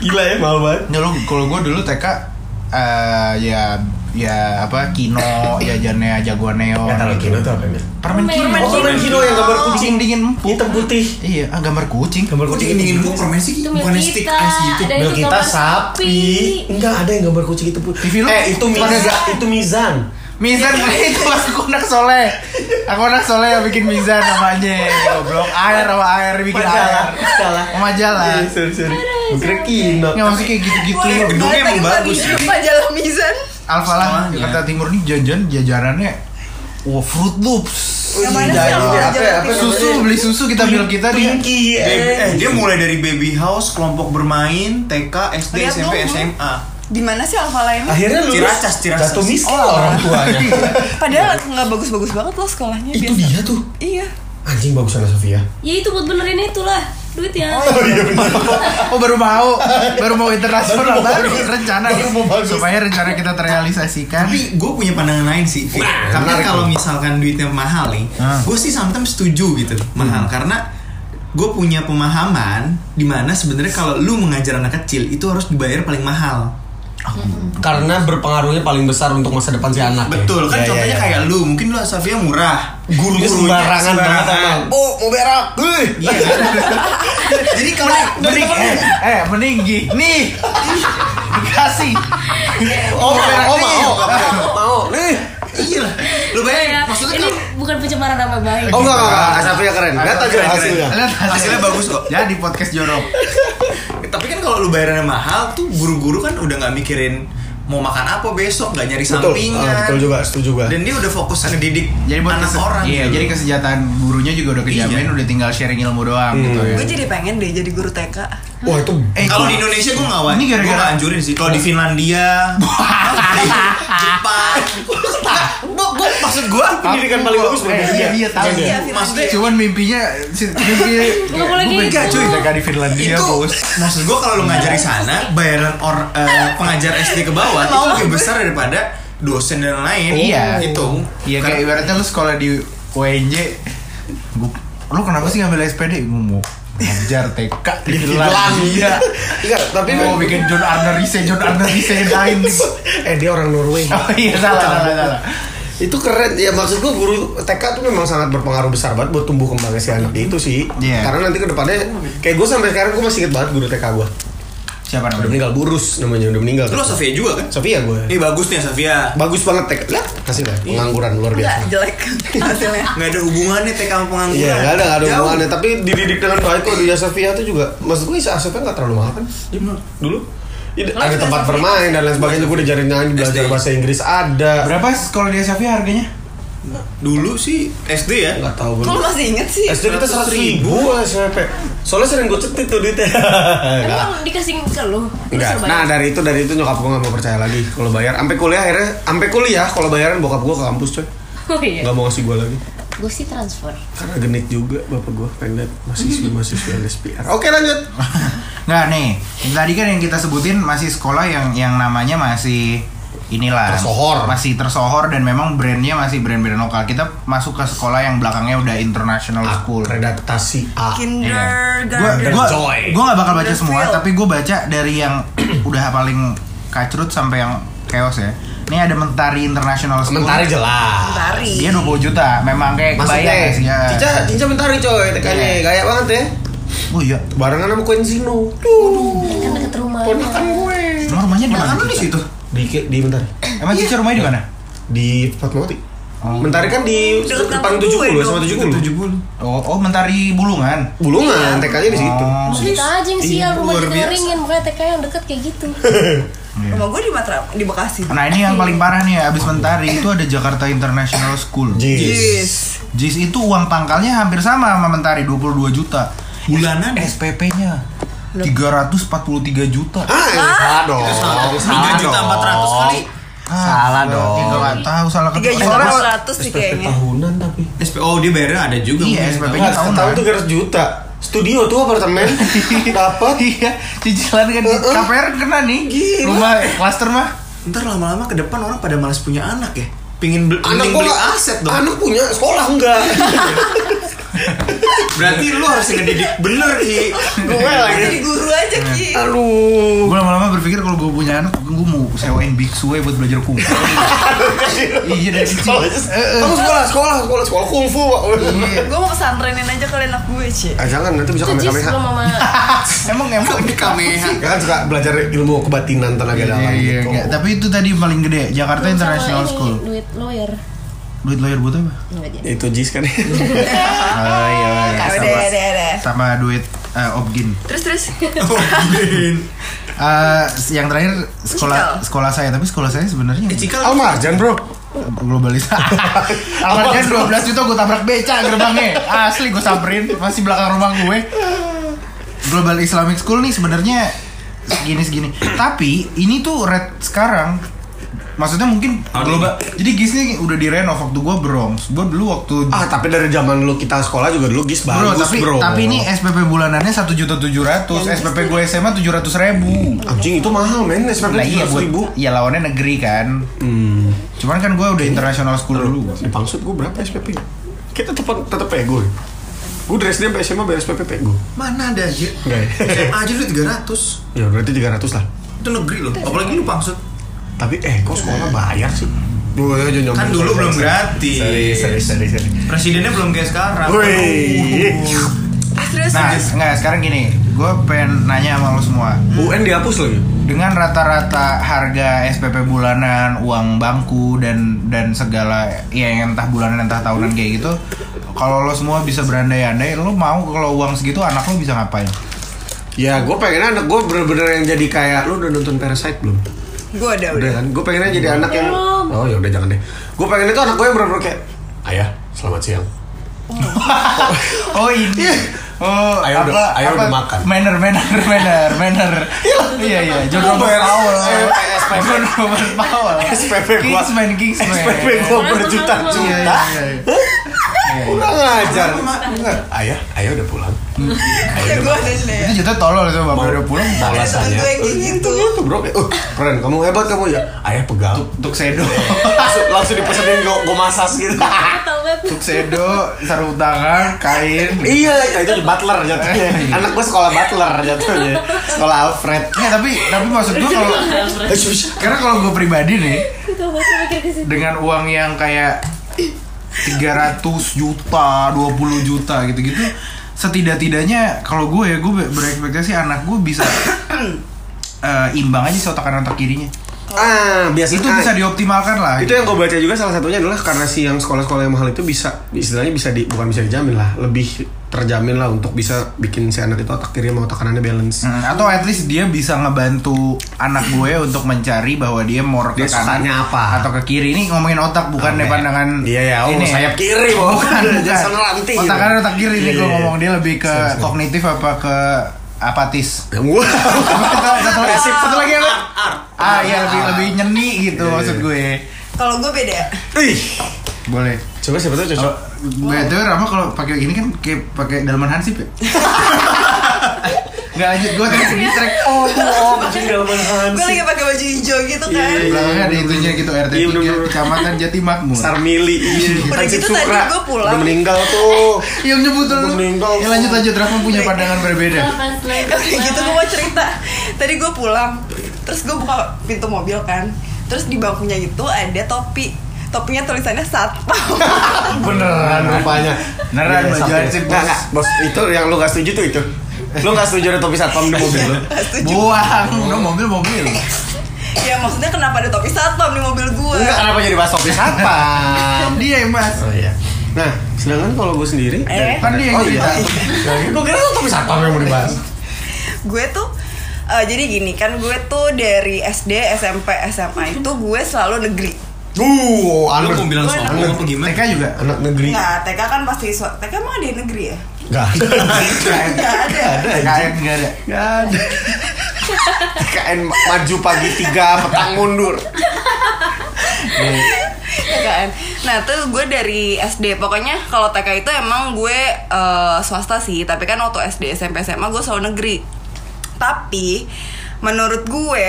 Gila ya, mahal banget.
ya lo kalau gue dulu TK eh, ya ya apa kino ya jajannya jagoan neon
kino itu apa ya?
permen kino
Oh, permen kino yang gambar kucing.
kucing dingin empuk
Hitam putih.
iya ah, gambar kucing
Gambar
Gue dingin gue permen sih
Itu
bukan
milik
stick
kita.
ice gitu
Ada
Mil
itu
kita
gambar
sapi. Enggak ada yang gambar kucing itu putih.
TV lu?
Eh, itu
Mana
mizan.
ada?
Itu mizan.
Mizan itu pas aku anak soleh Aku anak soleh yang bikin Mizan namanya Goblok air sama air bikin air
Salah.
Majalah
Iya, sorry, sorry. Gue kira kino.
Nggak maksudnya kayak gitu-gitu
Boleh,
loh
Gedungnya
boleh
emang
pakai
bagus
baju- Majalah Mizan.
Alfalah
Semuanya.
Jakarta Timur ini jajan jajarannya Wah Fruit Loops
Yang mana sih
Jajan.
Alfa Jakarta
Apa- apa
Timur?
Susu beli susu kita milk kita dia
Pinky.
Baby- eh, dia mulai dari baby house, kelompok bermain, TK, SD,
Lihat
SMP,
dong.
SMA.
Di mana sih Alfa lainnya?
Akhirnya lulus
Ciracas, Ciracas. Oh,
Jatuh miskin lah orang tuanya.
Padahal nggak bagus-bagus banget loh sekolahnya
itu
biasa.
dia tuh.
Iya.
Anjing bagusan Sofia.
Ya itu buat benerin itulah ya. duitnya.
Oh baru mau Baru mau internasional
Baru
baru
mau bagus.
rencana
Baru mau bagus.
Supaya rencana kita terrealisasikan
Tapi gue punya pandangan lain sih. Fik.
Nah,
Karena
menarik
kalau
tuh.
misalkan duitnya mahal nih,
Ah.
gue sih sometimes setuju gitu mahal
Hmm.
karena gue punya pemahaman dimana sebenarnya kalau lu mengajar anak kecil itu harus dibayar paling mahal.
Karena berpengaruhnya paling besar untuk masa depan si anak. ya?
Betul kan
Iya,
contohnya
iya, iya.
kayak lu mungkin lu Safia murah,
gurunya sembarangan banget sama. Oh, mau berak. Hei.
Iya. Jadi kalau
Mending, eh, eh, meninggi. Nih. Dikasih.
Oh,
berak
mau,
nih.
mau, mau, mau. Nih.
iya lah. Lu bayangin
Ya,
maksudnya
ini
kalau
bukan pencemaran nama baik.
Oh, enggak, enggak, enggak. Sofia keren. Lihat aja
Keren, keren.
hasilnya.
Lihat
Hasilnya bagus kok.
Ya di podcast jorok.
tapi kan kalau lu bayarannya mahal tuh guru-guru kan udah nggak mikirin mau makan apa besok nggak nyari
Betul.
sampingan
Ah, betul juga, setuju gua.
dan dia udah fokus ngedidik
Jadi buat
anak
kese-
orang
Iya,
gitu.
jadi kesejahteraan gurunya juga udah kejamin,
Iya. Hmm.
udah tinggal sharing ilmu doang gitu ya.
Gue jadi pengen deh jadi guru TK.
Wah, itu
Eh,
kalau
gua-
di Indonesia gue nggak wajib
Ini
gue
gara-gara-
nggak anjurin sih kalau di Finlandia Jepang gue gue maksud gue
pendidikan paling bagus
Eh,
berbeda.
iya, iya, tahu.
Iya,
iya.
maksudnya
Cuman mimpinya si- mimpi
Nggak boleh
Gua
gitu.
pengen cuy jaga di Finlandia,
itu
Bos.
maksud gue kalau lu ngajar di sana bayaran or eh, pengajar SD ke bawah itu lebih besar daripada dosen dan lain
Iya.
itu
Iya kayak ibaratnya lu sekolah di UNJ. Gua, lu kenapa sih ngambil SPD? Gua mau ngajar TK di Finlandia.
Iya, Enggak, tapi
Iya. Mau bikin John Arne Riese, John Arne Riese yang lain.
eh dia orang Norway.
Oh iya salah salah salah.
itu keren ya maksud gua guru TK tuh memang sangat berpengaruh besar banget buat tumbuh kembangnya si anak itu sih
Iya.
karena nanti kedepannya kayak gue sampai sekarang gue masih inget banget guru TK gue udah
Siapa namanya?
meninggal burus namanya udah meninggal
Lu Sofia juga kan?
Sofia gue
Ini bagus nih Sofia.
bagus banget tek lah kasih
Iya.
lah pengangguran luar
Enggak,
biasa
jelek hasilnya.
Nggak ada hubungannya TK sama pengangguran.
Iya, nggak ada, nggak ada
Jauh.
hubungannya. Tapi dididik dengan baik kok di Sofia itu juga. Maksud gue Isa Sofia nggak terlalu mahal kan? Dia mah Dulu Iya, ada tempat bermain dan lain sebagainya. Gue diajarin nyanyi, belajar
SD.
bahasa Inggris ada.
Berapa sih kalau dia Safia harganya?
Dulu sih SD ya.
Nggak tahu gue.
Kalau masih inget sih.
SD kita seratus
100
ribu SMP. Soalnya sering gue cetit tuh duitnya. Nggak.
Emang dikasih ke lu? Lu
iya. Enggak.
suruh
Nah
bayar?
dari itu dari itu nyokap gue nggak mau percaya lagi kalau bayar. Sampai kuliah akhirnya, sampai kuliah kalau bayaran bokap gue ke kampus coy.
Oh iya.
Nggak mau ngasih gue lagi.
Gue sih transfer.
Karena genit juga bapak gue pengen mahasiswi mahasiswi LSPR. Oke lanjut.
Nggak nih. Tadi kan yang kita sebutin masih sekolah yang yang namanya masih inilah
Tersohor.
masih tersohor dan memang brandnya masih brand-brand lokal kita masuk ke sekolah yang belakangnya udah international
Ah,
school
Redaktasi A.
Gua
Kindergarten.
gua
Joy.
gua gak bakal baca
Garfield.
semua, tapi gue baca dari yang udah paling kacrut sampai yang chaos ya. Ini ada Mentari International School.
Mentari jelas.
Tari.
Dia 20 juta, memang kayak
Maksudnya,
kebayang sih ya.
Cica, Cica mentari coy, tekannya
Iya.
gaya banget ya.
Oh iya,
Barengan sama Quenzino. Duh,
Kan deket rumah.
ponakan gue.
emang rumahnya di mana?
Kan lu di
Cica?
situ.
Di di mentari.
Emang Cica rumahnya di mana?
Di Fatmawati.
Oh.
Mentari kan di
Deket
depan
kampung gue
70
dong.
sama 70.
70.
Oh, oh Mentari Bulungan.
Bulungan, TK-nya di situ.
Oh.
Kita Gitu aja yang sial
Iya,
rumah
luar
kita
biasa.
ringin Makanya TK yang deket kayak gitu
Rumah gue di Matra di Bekasi.
Nah ini yang paling parah nih abis Mentari itu ada Jakarta International School.
Jis.
Yes.
JIS itu uang pangkalnya hampir sama sama Mentari 22 juta.
Bulanan ya?
SPP-nya 343 juta.
Ah, eh, salah dong. Salah
3 juta
dong.
400 kali.
Salah dong.
Tiga Ah, nggak tahu salah
Tiga
ketua.
juta
Soalnya-
empat ratus sih
SPP
kayaknya.
Oh.
tahunan tapi.
SP oh dia bayarnya ada juga.
Iya,
mungkin.
SPP-nya
Enggak,
tahunan.
setahun 300 juta. Studio tuh apartemen dapat
Iya, cicilan kan di
Heeh.
KPR kena nih.
Gila.
Rumah klaster mah.
Ntar lama-lama ke depan orang pada malas punya anak ya. Pingin beli,
anak
mending
gua
beli
nggak-
aset dong.
anak punya sekolah enggak
Berarti lu harus ngedidik bener sih.
gue lagi
Jadi guru aja Ki.
Nah.
aduh
Gue lama-lama berpikir kalau gue punya anak, gue mau sewain biksue buat belajar kungfu. iya Iya. dari kecil.
sekolah kamu sekolah sekolah sekolah sekolah kungfu pak
Gue mau pesantrenin aja kali anak gue Ci.
ah jangan nanti bisa
Itu
kami
jis
kami
belum mama
Emang emang
Di kameha.
kan suka belajar ilmu kebatinan tenaga dalam
Iya, iya,
gitu.
nggak. Tapi itu tadi paling gede Jakarta
Belum sama
International
ini,
School.
Duit lawyer
Duit lawyer buat apa?
Nggak jadi
itu jis kan
Oh iya, iya,
Udah,
sama,
udah, udah.
sama duit eh, obgin.
Terus terus.
Eh, yang terakhir sekolah
Cikal.
sekolah saya tapi sekolah saya sebenarnya
Eh, Cikal
Almarjan bro
globalis
Oh,
awalnya 12 juta gue tabrak beca gerbangnya asli gue samperin masih belakang rumah gue global islamic school nih sebenarnya segini segini tapi ini tuh red sekarang maksudnya mungkin
Tahun
global jadi gisnya udah direnov waktu gue bronx gue dulu waktu
ah tapi dari zaman lu kita sekolah juga dulu jis
Bro,
bagus bro,
tapi tapi ini SPP bulanannya satu juta tujuh ratus, SPP gue SMA tujuh ratus ribu.
anjing itu mahal men SPP
Lah iya
700
buat
ribu
Iya lawannya negeri kan.
hmm.
Cuman kan gue udah international school dulu.
di Pangsut gue berapa SPP ya? kita tetap tetap pego ya gue dari SD sampai SMA bayar SPP pego
mana ada aja?
Nggak ya?
SMA aja lu 300.
ya berarti 300 lah
Itu negeri loh. Apalagi lu pangsut.
Tapi eh kok sekolah bayar sih? Gue aja nyambung.
Kan dulu belum gratis.
Sorry, sorry, sorry, sorry.
Presidennya belum kayak sekarang.
Woi.
Terus terus.
Nah, enggak sekarang gini, gue pengen nanya sama lo semua.
UN dihapus lagi.
Dengan rata-rata harga SPP bulanan, uang bangku dan dan segala ya yang entah bulanan entah tahunan kayak gitu, kalau lo semua bisa berandai-andai, lo mau kalau uang segitu anak lo bisa ngapain?
Ya gue pengen anak gue bener-bener yang jadi kayak lu udah nonton Parasite belum?
Gue udah
Udah
udah.
kan? Gue pengennya jadi anak yang
Belum.
oh ya udah jangan deh. Gue pengen itu anak gue yang bener-bener kayak ayah selamat siang.
Oh ini.
Iya.
Oh,
Ayo udah- ayo udah makan.
Manner, manner, manner, manner. iya, iya. John
Gua
Robert
bayar
Powell.
eh, SPP.
John Robert Powell.
SPP gua.
Kingsman, Kingsman.
SPP gue
Orang
berjuta-juta.
Iya,
Iya,
iya, iya.
Kurang ngajar. Enggak. Ayah, ayah udah pulang.
Kayak gue Iya, ada nih.
Itu jatuh tolol itu bapak udah pulang.
Mau
Ada temen
rasanya.
gue yang kayak gitu.
Itu bro, Eh, uh, keren kamu hebat kamu ya. Ayah pegal.
Tuk sedo.
langsung, langsung dipesenin gue gue masas gitu
Tau banget
Tuk sedo, sarung tangan, kain.
iya ya itu di butler jatuhnya anak gue sekolah butler jatuhnya sekolah Alfred
Ya, tapi tapi maksud gua kalau
Eh, sus.
karena kalau gue pribadi nih
Gue tau banget mikir ke situ
dengan uang yang kayak 300 juta, 20 juta gitu-gitu setidak-tidaknya kalau gue ya gue berekspektasi anak gue bisa eh, imbang aja sih otak kanan otak kirinya.
ah biasanya
Itu bisa dioptimalkan lah. gitu.
itu yang gue baca juga salah satunya adalah karena si yang sekolah-sekolah yang mahal itu bisa istilahnya bisa di bukan bisa dijamin lah lebih terjamin lah untuk bisa bikin si anak itu otak kiri sama otak kanannya balance
Hmm, atau at least dia bisa ngebantu anak gue untuk mencari bahwa dia mau ke
Dia sukanya
kanan
apa?
atau ke kiri. Ini ngomongin otak bukan deh pandangan
Iya, ya. Oh, sayap kiri,
bukan,
Bang.
bukan.
Jangan ranting.
Otak kanan otak kiri
Iya,
nih gue
iya.
ngomong dia lebih ke kognitif apa ke apatis.
Wow.
satu, lagi, satu lagi apa?
Ar.
Ah iya lebih lebih nyeni gitu maksud gue.
Kalau gue beda.
Ih.
Boleh.
Coba siapa tuh cocok?
Btw Rama kalau pakai ini kan kayak pakai dalaman hansip ya. Nggak lanjut gue tadi di track.
Oh, oh, anjing dalam Hans.
Gue lagi pakai baju hijau gitu
Iya,
kan.
iya, iya.
Belakangnya ada itunya gitu RT
Iya, bener,
3
bener.
Kecamatan Jati Makmur.
Star Mili. iya.
Udah
Hansip
gitu tadi
Sukra.
gua pulang.
Udah meninggal tuh.
Yang nyebut dulu.
Belum meninggal. Iya.
Ya lanjut lanjut Rafa punya pandangan berbeda.
Lepas lagi
Oke gitu gue mau cerita Tadi gue pulang Terus gue buka pintu mobil kan Terus di bangkunya itu ada topi Topinya tulisannya satpam
Beneran
Kan
Iya,
rupanya.
Beneran, baju hansip,
Nggak,
bos.
nggak, bos. Itu yang lu gak setuju tuh itu. Lu gak setuju ada topi satpam di mobil lu?
Setuju
Buang. No mobil mobil.
Ya maksudnya kenapa ada topi satpam di mobil gue
Enggak, kenapa jadi bahas topi satpam?
Dia yang mas.
Oh iya. Nah, sedangkan kalau gue sendiri,
Eh.
Kan dia yang
oh
cerita.
iya. Gue kira tuh topi satpam yang mau dibahas.
Gue tuh eh, jadi gini kan gue tuh dari SD, SMP, SMA itu gue selalu negeri
Uh,
Lu
anak
mau bilang soal apa gimana?
TK juga.
anak negeri.
Nah TK kan pasti so- TK emang ada yang negeri ya?
Gak ada.
Gak ada
TKN nggak ada.
Gak ada. KN maju pagi tiga, petang mundur.
Ya kan? Nah tuh gue dari SD Pokoknya kalau TK itu emang gue eh, swasta sih Tapi kan waktu SD, SMP, SMA gue selalu negeri Tapi menurut gue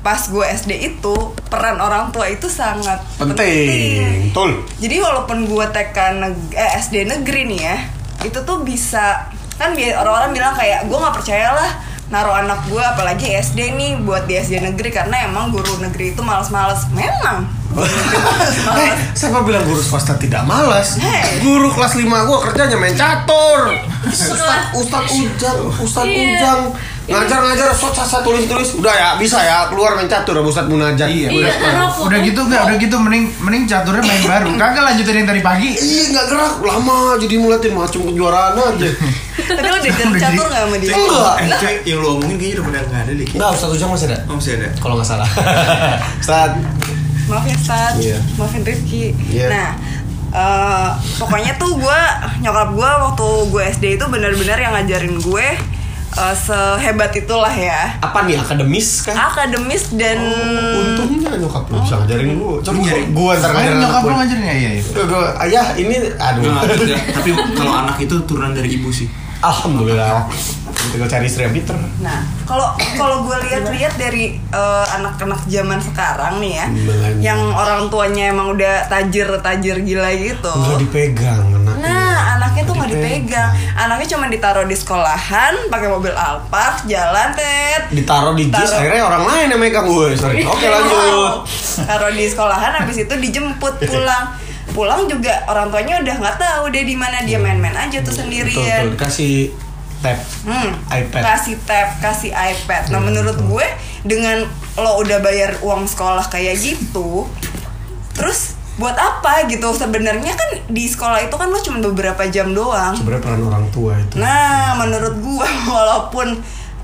Pas gue SD itu Peran orang tua itu sangat
Penting, tul.
Jadi walaupun gue TK neg- eh, SD negeri nih ya Itu tuh bisa Kan bi- orang-orang bilang kayak Gue gak percaya lah naruh anak gue apalagi SD nih buat di SD negeri karena emang guru negeri itu males-males memang guru negeri
Eh,
males-males
siapa bilang guru swasta tidak malas?
Hei.
Guru kelas 5 gua kerjanya main catur. Ustad, ustad Ujang, Ustad
Iya.
Ujang. Ngajar-ngajar, sok sasa tulis-tulis. Udah ya, bisa ya, keluar main catur sama Ustad Munajat.
Iya.
Iya, rokok.
Udah gitu nggak? Udah gitu mending mending caturnya main baru. Kagak lanjutin yang tadi pagi.
Iya, nggak gerak. Lama, jadi mulatin macam kejuaraan aja.
Tapi lo udah jadi catur gak sama dia?
Enggak.
Eh, cek, yang lu omongin kayaknya udah pada nggak ada deh.
Enggak, Ustad Ujang masih ada.
Oh, masih ada.
Kalau nggak salah. Ustad,
Maaf ya Sat,
Iya.
maafin Rifki
Iya.
Nah, eh, pokoknya tuh gue, nyokap gue waktu gue SD itu benar-benar yang ngajarin gue eh, Sehebat itulah ya
apa nih akademis kan?
Akademis dan
Oh. Untungnya nyokap lu bisa ngajarin gua. Coba
Iya,
gua ntar
Kan
ngajarin
nyokap
anak
lu
gua.
ngajarin ya iya. iya.
Gua- gua, ayah ini aduh.
Enggak, enggak. Tapi kalau anak itu turunan dari ibu sih.
Alhamdulillah. Nanti gua cari istri yang pinter.
Nah, kalau kalau gue lihat-lihat dari eh, anak-anak zaman sekarang nih ya,
Gimana?
yang orang tuanya emang udah tajir-tajir gila gitu.
Enggak dipegang anaknya.
Nah, anaknya tuh nggak
Dipegang.
dipegang. Anaknya cuma ditaruh di sekolahan, pakai mobil Alphard, jalan tet.
Ditaruh di jis,
Taruh.
akhirnya orang lain yang megang gue. Sorry. Oke lanjut.
Taruh di sekolahan, habis itu dijemput pulang. Pulang juga orang tuanya udah nggak tahu dia di mana dia main-main aja tuh
Iya. Betul, betul.
sendirian.
Dikasih tab.
Hmm,
iPad. Iya,
kasih tab, kasih iPad. Nah, menurut gue dengan lo udah bayar uang sekolah kayak gitu, terus buat apa gitu? Sebenarnya kan di sekolah itu kan lo cuma beberapa jam doang.
Sebenarnya peran orang tua itu.
Nah, menurut gua walaupun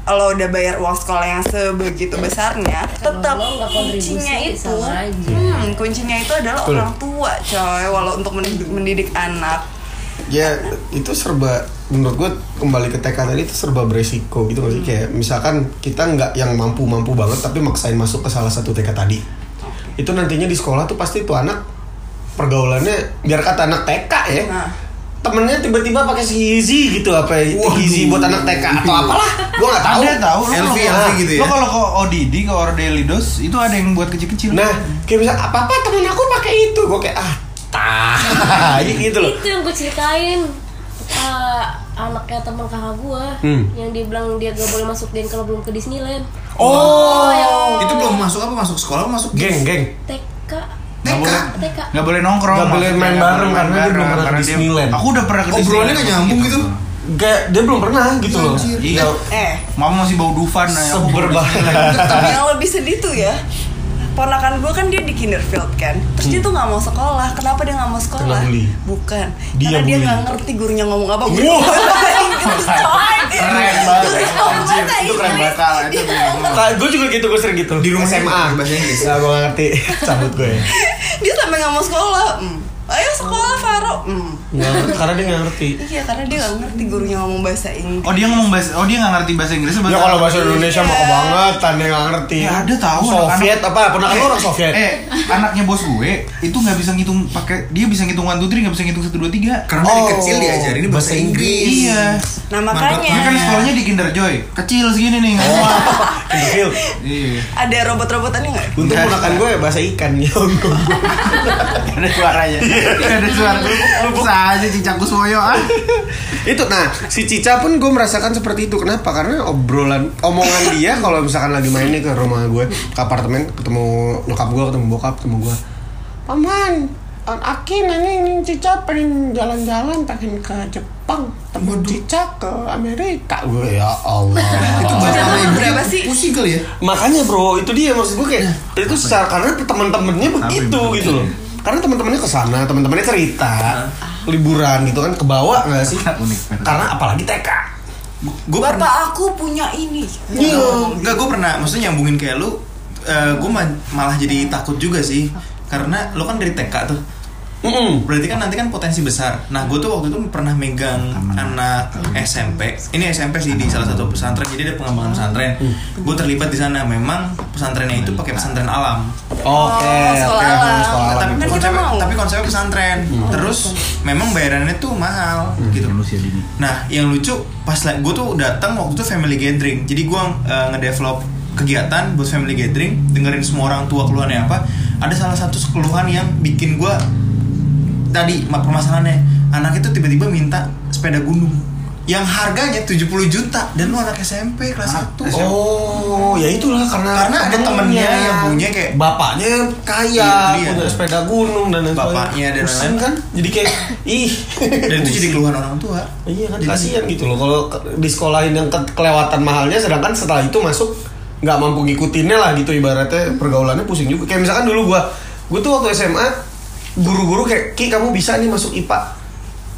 lo udah bayar uang sekolah yang sebegitu besarnya, tetap
lo nggak kontribusi,
kuncinya
ya
itu,
sama aja.
hmm, kuncinya itu adalah
Betul.
orang tua, coy. Walau untuk mendidik, mendidik anak,
ya itu serba menurut gue kembali ke TK tadi itu serba beresiko gitu nggak sih kayak misalkan kita nggak yang mampu mampu banget tapi maksain masuk ke salah satu TK tadi itu nantinya di sekolah tuh pasti tuh anak pergaulannya biar kata anak TK ya
Nah.
temennya tiba-tiba pakai si Yeezy gitu apa
Waduh.
Yeezy buat anak TK atau apalah gue nggak tahu
Ada tahu lu
LV,
kalau-
LV gitu ya?
Lu kalau ke ODD ke Ordelidos itu ada yang buat kecil-kecil.
nah kayak bisa apa apa temen aku pakai itu gue kayak ah tah gitu loh
Itu yang gue ceritain eh, anaknya teman kakak gue
Hmm.
yang dia bilang dia gak boleh masuk game kalau belum ke Disneyland.
oh
Itu belum masuk apa masuk sekolah masuk
geng geng
TK,
Nggak boleh,
TK.
nggak boleh nongkrong.
Nggak boleh
maksudnya,
main
nggak
bareng,
boleh main
karena dia belum pernah ke
karena dia-
Disneyland.
Aku udah pernah ke
Obrolannya nggak nyambung gitu.
kayak dia belum pernah gitu loh.
Iya.
Eh,
Mama masih bau dufan nah, aku
Seber
baru-
banget.
yang lebih sedih tuh ya ponakan gue kan dia di kinderfield kan terus
Hmm.
dia tuh nggak mau sekolah kenapa dia nggak mau
Kena
sekolah
bully.
bukan
Dia
karena dia
bully.
nggak ngerti gurunya ngomong apa gitu, gurunya
Wah.
Keren banget. Anjir, itu keren banget. Itu keren banget.
gue juga gitu, gue sering gitu. Di
rumah
SMA.
bahasa Inggris.
Nah, gue ngerti. Cabut ya. gue.
dia sampai nggak mau sekolah Hmm. ayo sekolah Faro Hmm.
Nggak, karena dia nggak ngerti.
iya karena dia nggak ngerti gurunya ngomong bahasa Inggris
Oh dia ngomong bahasa, oh dia nggak ngerti bahasa Inggris
Ya kalau bahasa Indonesia mah kebangetan dia nggak ngerti.
Ya ada tahu
Soviet apa? Ponakan lu orang Soviet.
Eh, anaknya bos gue itu nggak bisa ngitung pakai dia bisa ngitung 1 2 3 nggak bisa ngitung 1 2 3.
Karena dari kecil diajarin bahasa Inggris.
Iya.
nah
Dia kan
makanya
sekolahnya di Kinder Joy. Kecil segini nih. nggak muat.
Kinderfield.
Iya.
ada robot-robotannya nggak
Untung ponakan gue bahasa ikan ya. untung gue.
Nggak ada suaranya. Nggak ada suara. Bisa aja cicak kuswoyo ah.
itu nah si Cica pun gue merasakan seperti itu kenapa karena obrolan omongan dia kalau misalkan lagi main nih ke rumah gue ke apartemen ketemu nyokap gue ketemu bokap ketemu gue paman An Aki nanya ini Cica pengen jalan-jalan pengen ke Jepang temen Cica ke Amerika gue ya
Oh,
Itu
Allah
bahasa
Jatuh
Inggris
berapa sih?
Pusing kali ya.
makanya bro itu dia maksud gue kayak
Nah.
itu secara karena teman-temannya begitu gitu loh karena teman-temannya ke sana teman-temannya cerita liburan gitu kan kebawa nggak sih
Unik.
karena apalagi TK
Gue pernah
bapak aku punya ini
Enggak, gue Iya. pernah maksudnya nyambungin kayak lu gue malah jadi takut juga sih karena lo kan dari TK tuh
Mm-mm.
berarti kan nanti kan potensi besar nah gue tuh waktu itu pernah megang anak SMP ini SMP sih di salah satu pesantren jadi ada pengembangan pesantren gue terlibat di sana memang pesantrennya itu pakai pesantren alam
Oh, Oke,
sekolah
oke,
alam.
sekolah alam.
tapi
Kan kita
konsepnya,
mau. Hmm.
tapi konsepnya pesantren terus memang bayarannya tuh mahal
Hmm,
gitu
ya,
nah yang lucu pas gue tuh datang waktu itu family gathering jadi gue eh, ngedevelop kegiatan buat family gathering dengerin semua orang tua keluhannya apa ada salah satu keluhan yang bikin gue tadi ma- permasalahannya anak itu tiba-tiba minta sepeda gunung yang harganya 70 juta dan lu anak SMP kelas 1
Oh, ya itulah karena
Karena ada temennya yang punya kayak-
bapaknya kaya,
Iya, iya.
punya sepeda gunung dan lain-lain.
Bapaknya dan
Pusing
lain-lain.
kan. Jadi kayak ih.
dan itu jadi keluhan orang tua
Iya kan
Jadi-
kasihan gitu loh kalau ke- di sekolahin yang ke- kelewatan mahalnya sedangkan setelah itu masuk nggak mampu ngikutinnya lah gitu ibaratnya pergaulannya pusing juga kayak misalkan dulu gua gua tuh waktu SMA guru-guru kayak Ki kamu bisa nih masuk IPA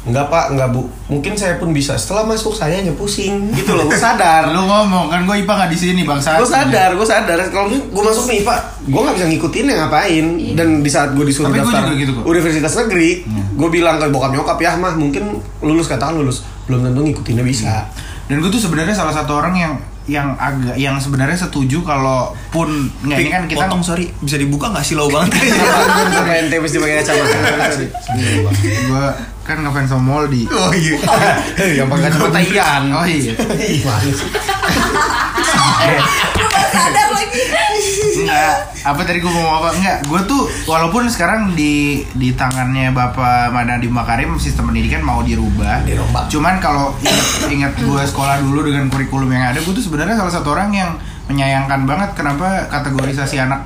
Enggak pak, enggak bu Mungkin saya pun bisa Setelah masuk saya hanya pusing Gitu loh, gua sadar
Lu ngomong kan gue IPA nggak di sini bangsa.
gue sadar gue sadar kalau gue masuk nih pak gue nggak bisa ngikutin yang ngapain dan di saat gue disuruh
Tapi gua
daftar
juga gitu Hmm. kok.
universitas negeri gue bilang ke bokap nyokap ya mah mungkin lulus katakan lulus belum tentu ngikutinnya bisa
Dan gue tuh sebenarnya salah satu orang yang yang agak yang sebenarnya setuju kalau pun nggak ini kan kita
potong sorry bisa dibuka nggak sih lo banget
Iya.
Kayak ente mesti pakai kacamata
gue kan ngefans sama Moldi
oh iya
yang pakai kacamata Ian
oh iya
sadar lagi
enggak apa tadi gue mau apa enggak gue tuh walaupun sekarang di di tangannya bapak Madani Makarim sistem pendidikan mau dirubah
Dirubah.
cuman kalau ingat- ingat gue sekolah dulu dengan kurikulum yang ada gue tuh sebenarnya salah satu orang yang menyayangkan banget kenapa kategorisasi anak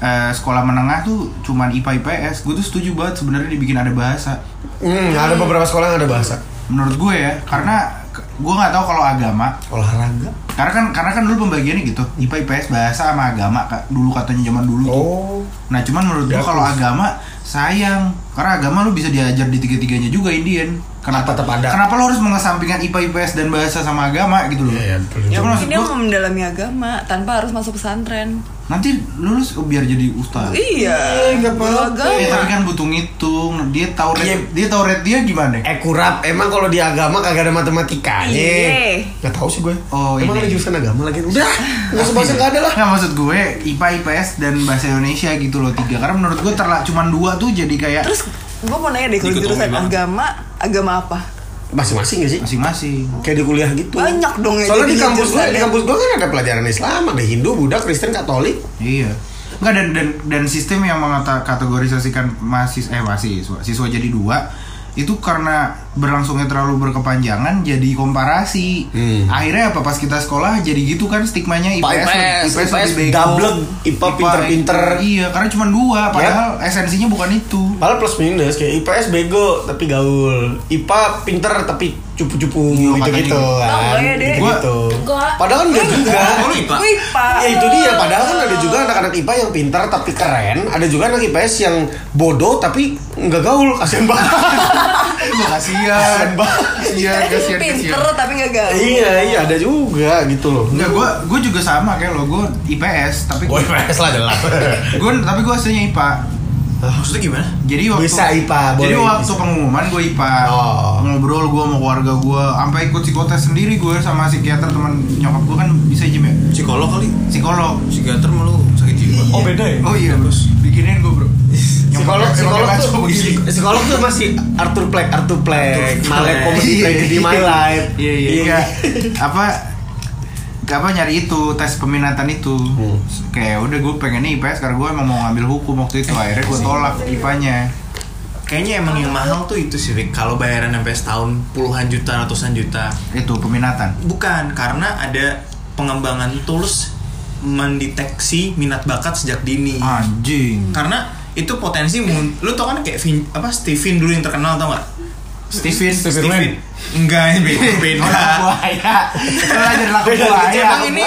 eh, sekolah menengah tuh cuman IPA IPS gue tuh setuju banget sebenarnya dibikin ada bahasa
hmm, ada beberapa sekolah yang ada bahasa
menurut gue ya karena gue nggak tahu kalau agama
olahraga
karena kan karena kan dulu pembagiannya gitu IPA IPS bahasa sama agama kak dulu katanya zaman dulu tuh.
oh
nah cuman menurut gua
Bagus.
kalau agama sayang karena agama lu bisa diajar di tiga tiganya juga Indian kenapa
Tetap ada.
kenapa lu harus mengesampingkan IPA IPS dan bahasa sama agama gitu loh
Iya, iya, betul.
Cuman maksud
mungkin dia
gua,
mau mendalami agama tanpa harus masuk pesantren
nanti lulus oh, biar jadi ustaz
iya
nggak apa-apa.
beragama.
Eh, tapi kan butuh ngitung dia tahu red,
Iya.
dia tahu red dia gimana
ekurap Eh, emang kalau di agama kagak ada matematikanya
Iya.
nggak tahu sih gue
Oh,
emang ada
ini.
jurusan agama lagi udah nggak sebahasa nggak ada lah
Nggak maksud gue IPA IPS dan bahasa Indonesia gitu loh tiga karena menurut gue terlah cuman dua tuh jadi kayak
Terus gue mau nanya deh kalau
Dikotomi
jurusan
banget.
agama, agama apa?
Iya.
masing-masing gak sih
masing-masing
kayak di kuliah gitu
Banyak dong ya
soalnya di
jadinya
kampus gue di
jurusannya.
kampus gue kan ada pelajaran Islam ada Hindu Buddha Kristen Katolik
Iya. Enggak dan dan dan sistem yang mengata kategorisasikan mahasiswa eh mahasiswa siswa jadi dua itu karena berlangsungnya terlalu berkepanjangan jadi komparasi.
Hmm.
Akhirnya apa pas kita sekolah jadi gitu kan stigmanya IPS
Pak IPS,
IPS,
IPS
lebih bego.
dablek, IPA pinter-pinter.
Iya, karena cuma dua padahal esensinya bukan itu.
Malah plus minus kayak IPS bego tapi gaul, IPA pinter tapi cupu-cupu
Iya,
gitu-gitu
makanya.
kan.
Tau ya, Dek?
Gitu-gitu.
Enggak.
Padahal kan enggak juga.
Oh, lu IPA?
Gue IPA.
Ya itu dia, padahal kan ada juga anak-anak IPA yang pintar tapi keren, ada juga anak IPS yang bodoh tapi nggak gaul, kasihan banget.
Lu kasihan.
Iya,
Kasihan,
Iya,
kasihan,
Pinter
kasihan.
tapi gak gagal.
iya, iya ada juga gitu loh.
Enggak, gue gue juga sama kayak lo, gue IPS, tapi
Gue
gue,
IPS lah jelas.
tapi gue aslinya IPA.
Eh, Maksudnya gimana?
Jadi waktu
Bisa IPA, boleh.
Jadi waktu pengumuman gue IPA.
Oh.
Ngobrol gue sama keluarga gue, sampai ikut psikotes sendiri gue sama psikiater teman nyokap gue kan bisa jim ya.
Psikolog kali.
Psikolog.
Psikiater malu sakit jiwa. Oh beda ya?
Oh iya, bos. Bikinin gue, Bro.
Psikolog,
Nyokap-
psikolog
nyokap
tuh,
ngaco begini.
psikolog tuh masih Arthur Plek, Arthur Plek,
Arthur
Malek
Plek.
Comedy Plek di My Life.
Iya, iya. Enggak. Apa Gak apa nyari itu tes peminatan itu
Hmm.
kayak udah gue pengennya IPS karena gue emang mau ngambil hukum waktu itu akhirnya
Iya
gue tolak IPA-nya
Kayaknya emang yang mahal tuh itu sih, Vic. Kalau bayaran sampai setahun puluhan juta, ratusan juta.
itu peminatan
Bukan, karena ada pengembangan tools mendeteksi minat bakat sejak dini.
anjing
Karena itu potensi mun- lu tau kan kayak Vin- apa Steven dulu yang terkenal tau gak?
Steven
Steven. Oh, Enggak, ini beda. beda.
buaya Lu aja laku buaya
Emang ini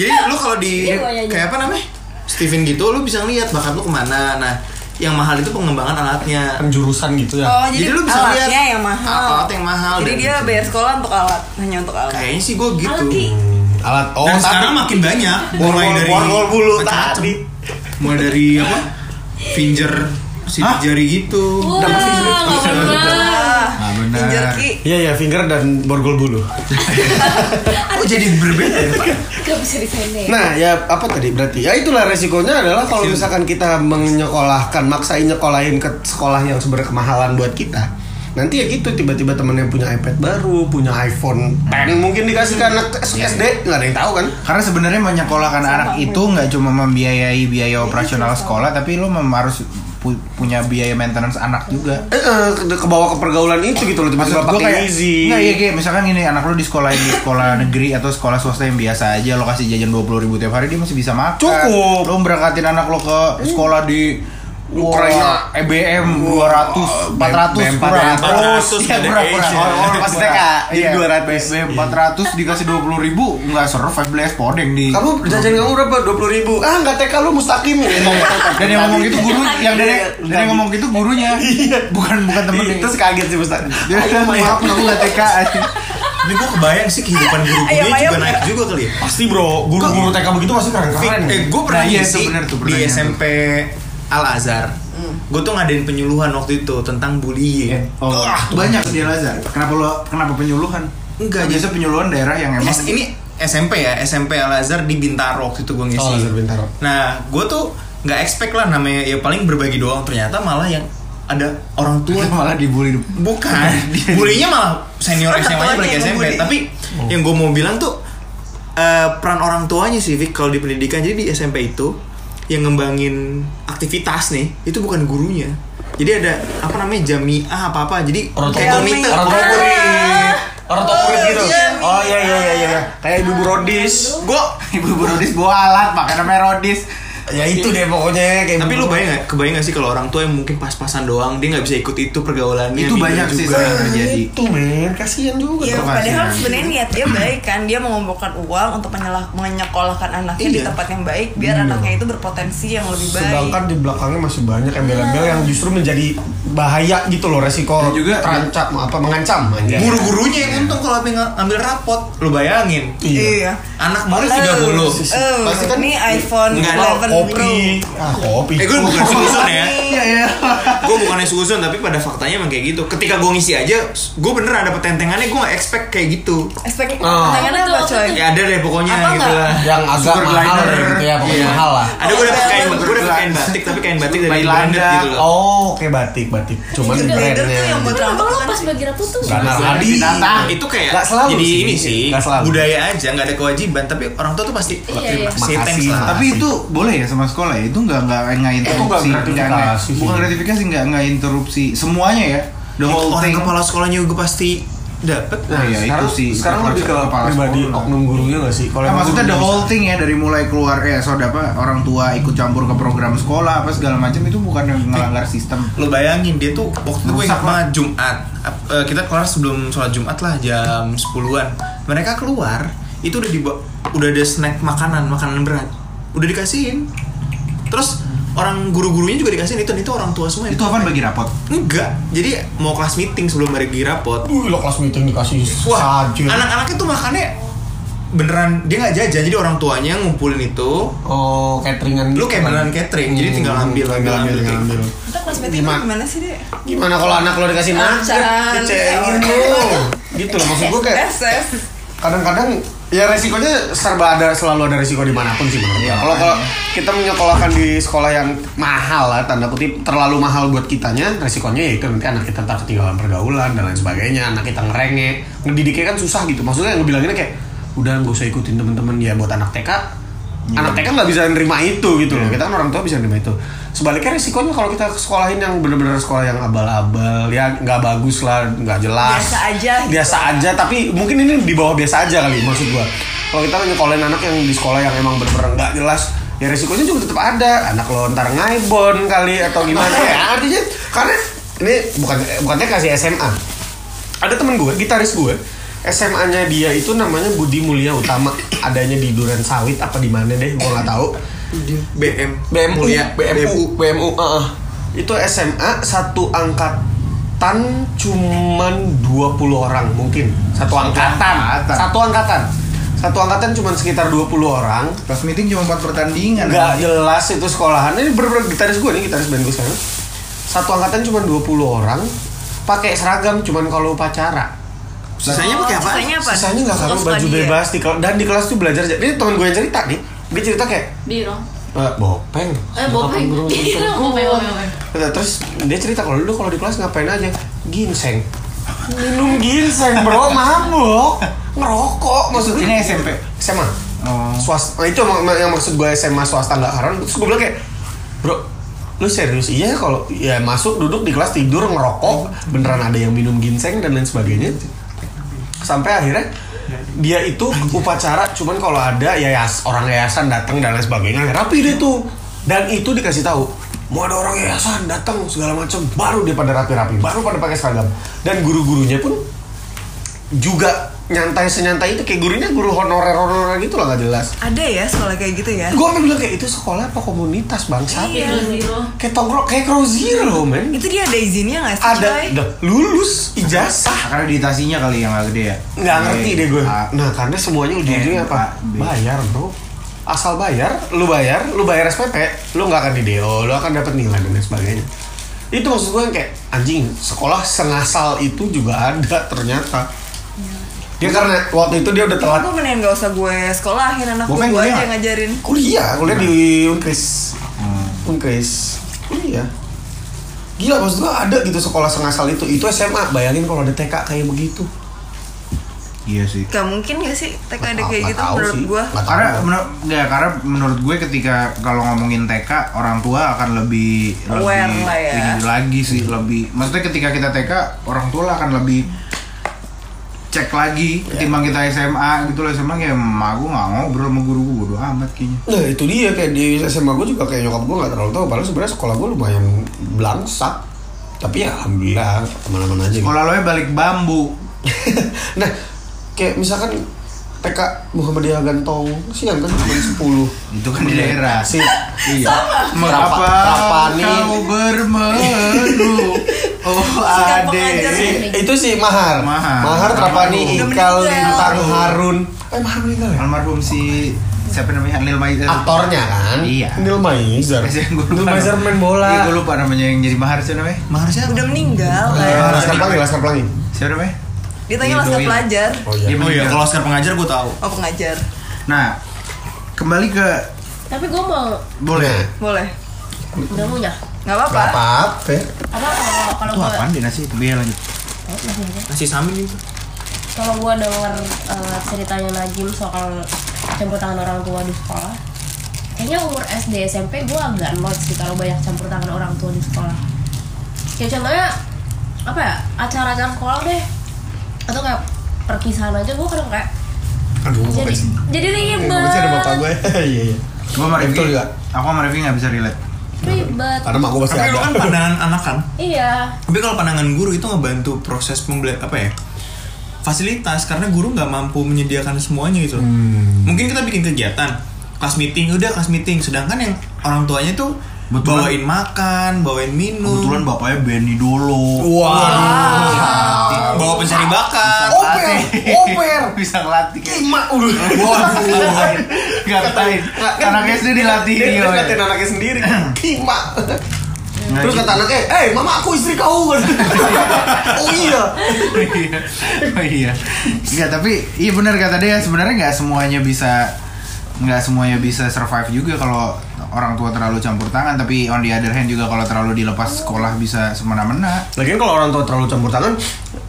Jadi lu kalau di
Iya, buayanya.
kayak apa namanya? Steven gitu lu bisa lihat bakat lu kemana. Nah, yang mahal itu pengembangan alatnya.
Penjurusan gitu ya.
Oh,
Jadi
jadi,
lu bisa
alatnya
lihat
yang mahal.
alat yang mahal
Jadi
dan- gitu.
dia bayar sekolah untuk alat, hanya untuk alat.
Kayaknya sih gue gitu.
Alat ki.
Alat oh,
Dan
tapi-
sekarang makin banyak mulai
Borgol-
dari
borgol bulu
macam-macam.
tadi.
Mulai dari apa? Finger si jari gitu.
Wah, nggak pernah.
Ah,
Nah, benar.
Pinjol ki.
Iya iya finger dan borgol bulu.
Kok jadi berbeda ya, Pak?
Gak bisa disendek.
Nah ya apa tadi berarti? Ya itulah resikonya adalah kalau misalkan kita menyekolahkan, maksain nyekolahin ke sekolah yang sumber kemahalan buat kita. Nanti ya gitu tiba-tiba temennya punya iPad baru, punya iPhone 10 mungkin dikasih ke anak SD nggak ada yang tahu kan?
karena sebenarnya menyekolahkan anak itu nggak cuma membiayai biaya operasional sekolah tapi lu mem- harus pu- punya biaya maintenance anak juga
Eh, eh, ke kebawa ke pergaulan itu gitu loh tiba-tiba
gua
pakai gizi.
nggak iya kayak misalkan gini anak lu di sekolah di sekolah negeri atau sekolah swasta yang biasa aja lo kasih jajan dua ribu tiap hari dia masih bisa makan
Cukup.
lo berangkatin anak lo ke sekolah di E
Ukraina.
Wah, EBM 200 400
BM
kurang
400,
Iya, kurang kurang
education.
Orang-orang
Pas
kurang.
TK, jadi
Iya,
200.
BM 400 dikasih 20.000 ribu nggak survive belas podeng di
Kamu jajan kamu berapa? Dua puluh ribu. Ah nggak TK lu mustaqim ya.
dan yang ngomong gitu guru yang dari
Iya,
dan yang ngomong gitu gurunya bukan bukan temen
Iya, Terus kaget sih mustaqim.
dia
Ayo,
maaf
maaf.
aku nggak TK
Ini gue kebayang sih kehidupan guru
Ayam,
gue juga
ayam.
naik juga kali ya.
Pasti bro, guru-guru TK begitu pasti
Fik,
keren-keren.
eh, gue pernah
Nah, iya,
ngisi
itu bener tuh
di
pertanyaan tuh.
SMP Al Azhar. Gue tuh ngadain penyuluhan waktu itu tentang bullying.
oh
Wah,
banyak dia Lazar kenapa lo kenapa penyuluhan
Enggak,
biasa penyuluhan daerah yang emang
S- ini SMP ya, SMP Al Azhar di Bintaro waktu itu gue ngisi.
Oh, Al Azhar Bintaro.
Nah, gue tuh nggak expect lah namanya ya paling berbagi doang ternyata malah yang ada orang tua
malah dibully
bukan bulinya malah senior
Orang
SMA nya
tuanya
balik
yang
SMP
ngebully.
tapi
Oh.
yang gue mau bilang tuh eh, peran orang tuanya sih Vic kalau di pendidikan jadi di SMP itu yang ngembangin aktivitas nih itu bukan gurunya jadi ada apa namanya jamiah apa apa jadi
Orang tua
kayak
murid,
komite
orang tua murid. Orang tua murid gitu.
iya.
Oh iya iya iya iya. Kayak ibu Bu Rodis.
gue
ibu Rodis bawa alat pakai namanya Rodis
Ya itu deh pokoknya kayak
tapi
ibu
lu
Bu Rodis.
bayang gak, kebayang gak sih kalau orang tua yang mungkin pas-pasan doang dia nggak bisa ikut itu pergaulannya
itu
minum
banyak sih
juga.
sering terjadi
itu men kasihan juga
Iya,
dong.
padahal
kasihan.
sebenarnya niat dia baik kan, dia mengumpulkan uang untuk menyelah, menyekolahkan anaknya di
Iya.
tempat yang baik biar anaknya itu berpotensi yang lebih baik.
sedangkan di belakangnya masih banyak embel-embel yang justru menjadi bahaya gitu loh resiko
Dan juga-
terancam apa mengancam aja
guru-gurunya yang untung kalau ambil ambil rapot lu bayangin
Iya.
Iya.
anak murid
Eh,
30
eh,
Pasti kan-
ini iPhone
Nggak,
11 Pro.
kopi ah kopi
Eh gue bukan susun ya
iya iya
Gue bukannya susun tapi pada faktanya emang kayak gitu Ketika gue ngisi aja Gue beneran dapet tentengannya Gue gak expect kayak gitu
Aspek
Ah.
tangannya apa
Betul,
coy?
Ya ada deh pokoknya
Apa
gitu
nggak?
lah
yang agak
Sugar
mahal
glider.
gitu ya pokoknya
Iya.
mahal lah
Ada gue dapet kain,
Sugar
gue dapet kain
glider.
batik Tapi kain batik dari
By
branded
Landa.
gitu loh
oh kayak batik batik cuman
Sugar
glider tuh yang
brandnya
buat-
Kenapa lo pas bagi rapot tuh?
Gak
Sugar
nahan.
glider ditata.
Nah, itu kayak
Oh, Nggak selalu
jadi
sih.
ini sih
Nggak selalu.
budaya aja nggak ada kewajiban tapi orang tua tuh pasti
Iya, iya.
terima kasih
Makasih.
thanks lah
tapi itu boleh ya sama sekolah ya itu nggak nggak nggak interupsi
nggak gratifikasi
nggak-
sih.
bukan gratifikasi nggak nggak interupsi semuanya ya
the
It-
whole
orang
thing.
kepala
kepala sekolahnya juga pasti dapet
iya,
Nah,
ya, itu
sekarang,
sih, itu
sekarang lebih ke Eh,
kepala sekolah.
pribadi oknum gurunya gak sih? Kalau
Nah,
yang
maksudnya
guru
the
bisa.
whole thing ya dari mulai keluar ya saudara apa orang tua ikut campur ke program sekolah apa segala macam itu bukan yang ngelanggar sistem.
lo bayangin dia tuh waktu itu gue
Rusak
ingat banget Jumat Ap- eh, kita kelar sebelum sholat Jumat lah jam 10-an mereka keluar itu udah diba udah ada snack makanan makanan berat udah dikasihin terus orang guru-gurunya juga dikasihin itu itu orang tua semua
Itu apa bagi rapot?
enggak jadi mau kelas meeting sebelum pergi rapot
Wih, lo kelas meeting dikasih
Wah,
sajir.
anak-anaknya tuh makannya beneran dia nggak jajan jadi orang tuanya ngumpulin itu
Oh, cateringan
Lu kayak
kan?
beneran catering, jadi tinggal ambil,
tinggal ambil,
ambil,
tinggal ambil.
Kita kelas meeting
Gimana?
gimana sih, Dek?
Gimana kalau anak lo dikasih
Acan.
makan? Kecewain lo. Gitu loh, maksud gue kayak
Reses.
kadang-kadang ya resikonya serba ada selalu ada resiko dimanapun sih menurut
Iya,
gue. Kalau kalau kita menyekolahkan di sekolah yang mahal lah tanda kutip terlalu mahal buat kitanya resikonya ya itu nanti anak kita ntar ketinggalan pergaulan dan lain sebagainya anak kita ngerenge ngedidiknya kan susah gitu maksudnya yang bilanginnya kayak udah nggak usah ikutin temen-temen ya buat anak TK
Iya.
anak TK nggak bisa nerima itu gitu loh kita kan orang tua bisa nerima itu sebaliknya resikonya kalau kita sekolahin yang bener-bener sekolah yang abal-abal ya nggak bagus lah nggak jelas
Biasa aja gitu.
biasa aja tapi mungkin ini di bawah biasa aja kali maksud gua kalau kita nyekolahin anak yang di sekolah yang emang bener-bener nggak jelas ya resikonya juga tetap ada anak lo ntar ngaibon kali atau gimana ya artinya karena ini bukan bukannya kasih SMA ada temen gue gitaris gue SMA-nya dia itu namanya Budi Mulia Utama adanya di Duren Sawit apa di mana deh gua nggak tahu
BM
BMU
Mulia
BMU BMU ah, ah. itu SMA satu angkatan cuman 20 orang mungkin satu angkatan
angkatan.
satu angkatan satu angkatan cuman sekitar 20 orang
Kelas meeting cuma buat pertandingan.
nggak jelas itu sekolahan ini bener-bener gitaris gue nih gitaris band gue sekarang satu angkatan cuman 20 orang pakai seragam cuman kalau upacara
sisanya pakai apa
Sisanya apa?
sisanya nggak pakai
Suka-suka
baju
ya?
dia.
bebas di kel- dan di kelas tuh belajar aja. ini teman gue yang cerita nih dia cerita kayak
Diro.
eh, bopeng
Eh, bopeng.
Bopeng,
Diro, bopeng, bopeng, bopeng.
Nah, terus dia cerita kalau dulu kalau di kelas ngapain aja ginseng minum ginseng bro mabok ngerokok maksud
Ini SMP.
SMA
Oh.
swasta nah, itu yang, yang maksud gue SMA swasta nggak haram terus gue bilang kayak bro lu serius iya kalau ya masuk duduk di kelas tidur ngerokok beneran ada yang minum ginseng dan lain sebagainya sampai akhirnya dia itu upacara cuman kalau ada yayas orang yayasan datang dan lain sebagainya rapi dia tuh dan itu dikasih tahu mau ada orang yayasan datang segala macam baru dia pada rapi-rapi baru pada pakai seragam dan guru-gurunya pun juga nyantai senyantai itu kayak gurunya guru honorer honorer gitu lah nggak jelas
Ada ya sekolah kayak gitu ya? Iya.
gue bilang kayak itu sekolah apa komunitas bangsa
Diro, Diro.
kayak tongkrong kayak crow zero men
Itu dia ada izinnya nggak sih,
ada
Coy?
dah, lulus ijazah
Karena ditasinya kali yang agak gede ya. Ah,
nggak ngerti deh gue
A.
nah karena semuanya ujung-ujungnya
Eh,
apa
A, B.
bayar bro asal bayar lu bayar lu bayar SPP lu nggak akan di DO lu akan dapat nilai dan lain sebagainya itu maksud gue yang kayak anjing sekolah sengasal itu juga ada ternyata dia karena waktu itu dia udah telat
Aku mendingan gak usah gue sekolahin anak
Bopeng
gue aja
kuliah nggak?
ngajarin
kuliah kuliah di Unkris
hmm.
Unkris kuliah gila maksud gue ada gitu sekolah sengasal itu itu SMA bayangin kalau ada TK kayak begitu
Iya sih.
Gak mungkin gak sih TK ada
Nggak
kayak gitu
tahu
menurut
sih.
gue
Nggak tahu.
Karena menurut ya, karena menurut gue ketika kalau ngomongin TK orang tua akan lebih
Aware
lebih
lah ya.
ini lagi sih lebih maksudnya ketika kita TK orang tua lah akan lebih cek lagi
Ya.
ketimbang kita SMA gitu loh SMA kayak "Ma, gue nggak ngobrol sama guru gue bodo amat kayaknya
Nah itu dia kayak di SMA gue juga kayak nyokap gue nggak terlalu tahu. Padahal sebenarnya sekolah gue lumayan belangsak. Tapi ya alhamdulillah teman-teman aja. gitu.
sekolah lo balik bambu
nah kayak misalkan TK Muhammadiyah Gantong siang kan cuma 10
itu kan di daerah
sih
iya mengapa
Rapa- Rapani.
kau bermelu oh
Sikap pengajar
ade
ini.
itu sih mahar
Mahar.
Trapani Ikal
Udah meninggal.
Lintang Harun eh mahar meninggal ya
almarhum si siapa namanya Anil Maizer
aktornya kan
Iya.
Nil Maizar
Eh, gue
Nil
lupa
Maizar
nama-
main
Iya,
bola
gue lupa namanya yang jadi mahar siapa namanya
maharnya
Udah meninggal
Eh,
lah
Laskar Pelangi Laskar Pelangi
siapa namanya
Dia tanya laskar
Idoy.
pelajar
oh
Dia
Oh iya,
meninggal.
kalau Oscar pengajar gue tahu.
Oh pengajar
nah kembali ke
Tapi gue mau
boleh
Nah,
Boleh
Gak punya
Gak apa-apa
apa-apa
Apa kalau kalau
itu
gue
apaan deh nasi biar Iya, lanjut
Nasi samin itu.
kalau gue denger eh, ceritanya Najim soal campur tangan orang tua di sekolah kayaknya umur SD SMP gue agak not sih kalau banyak campur tangan orang tua di sekolah kayak contohnya apa ya acara-acara sekolah deh atau kayak perpisahan aja gue kadang kayak
Aduh, gue
jadi
pengen sih.
jadi ribet
Gue sih ada bapak gue. Iya, iya.
Gue sama Rifki,
Betul juga.
aku sama Rifki gak bisa relate
Hmm.
ribet
Karena mak gue pasti
Tapi
ada.
lu kan pandangan anak kan.
iya
Tapi kalau pandangan guru itu ngebantu proses pembela apa ya? Fasilitas karena guru nggak mampu menyediakan semuanya gitu. loh. Mungkin kita bikin kegiatan, kelas meeting, udah kelas meeting. Sedangkan yang orang tuanya tuh
Kebetulan-
bawain makan, bawain minum.
Kebetulan bapaknya Benny Dolo
Waduh.
bawa pencari bakat.
Oper, oper.
Bisa ngelatih kayak
Ima, udah. Waduh.
Gak ketain Anak SD dilatih
Dia
dia
dia ngatain anaknya sendiri. Kima.
Nah,
Terus
gitu.
kata anaknya, eh mama aku istri kau. oh iya.
Iya. oh iya Enggak tapi iya benar kata dia sebenarnya nggak semuanya bisa nggak semuanya bisa survive juga kalau orang tua terlalu campur tangan tapi on the other hand juga kalau terlalu dilepas sekolah bisa semena-mena
Lagian kalau orang tua terlalu campur tangan,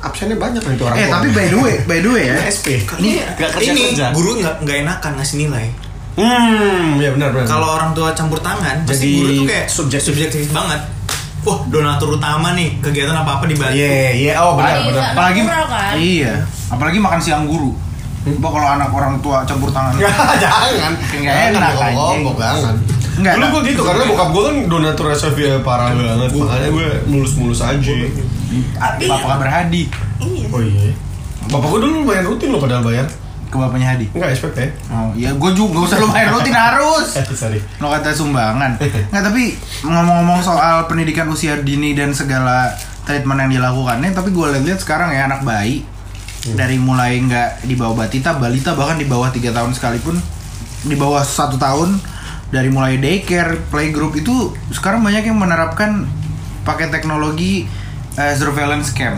absennya banyak nih itu orang
eh
tua.
tapi by the way by the way ya
SP.
Ini,
Nggak
ini
kerja-kerja.
guru nggak nggak enakan ngasih nilai.
Hmm, ya benar benar.
Kalau orang tua campur tangan, pasti
Jadi
guru tuh kayak
subjektif.
subjektif banget. Wah, donatur utama nih, kegiatan apa-apa dibantu.
Iya, iya, oh benar
Iya,
benar.
Anak
apalagi
kurang, kan?
iya apalagi makan siang guru
Hmm.
Bah, kalau anak orang tua campur tangan
Iya. jangan
Nggak enak, anjing.
ngomong jangan
Nggak
dulu
enak.
gue gitu karena bokap gue kan donatur SFV parah banget makanya gue mulus-mulus aja
bapak kabar Hadi
Iya.
oh iya bapak gue dulu lumayan rutin loh padahal bayar
ke bapaknya Hadi
enggak SPP
oh iya gue juga nggak usah lumayan rutin harus
eh sorry
lo kata sumbangan nggak tapi ngomong-ngomong soal pendidikan usia dini dan segala treatment yang dilakukannya tapi gue lihat-lihat sekarang ya anak bayi dari mulai nggak di bawah batita balita bahkan di bawah tiga tahun sekalipun di bawah satu tahun dari mulai daycare playgroup itu sekarang banyak yang menerapkan pakai teknologi eh, surveillance cam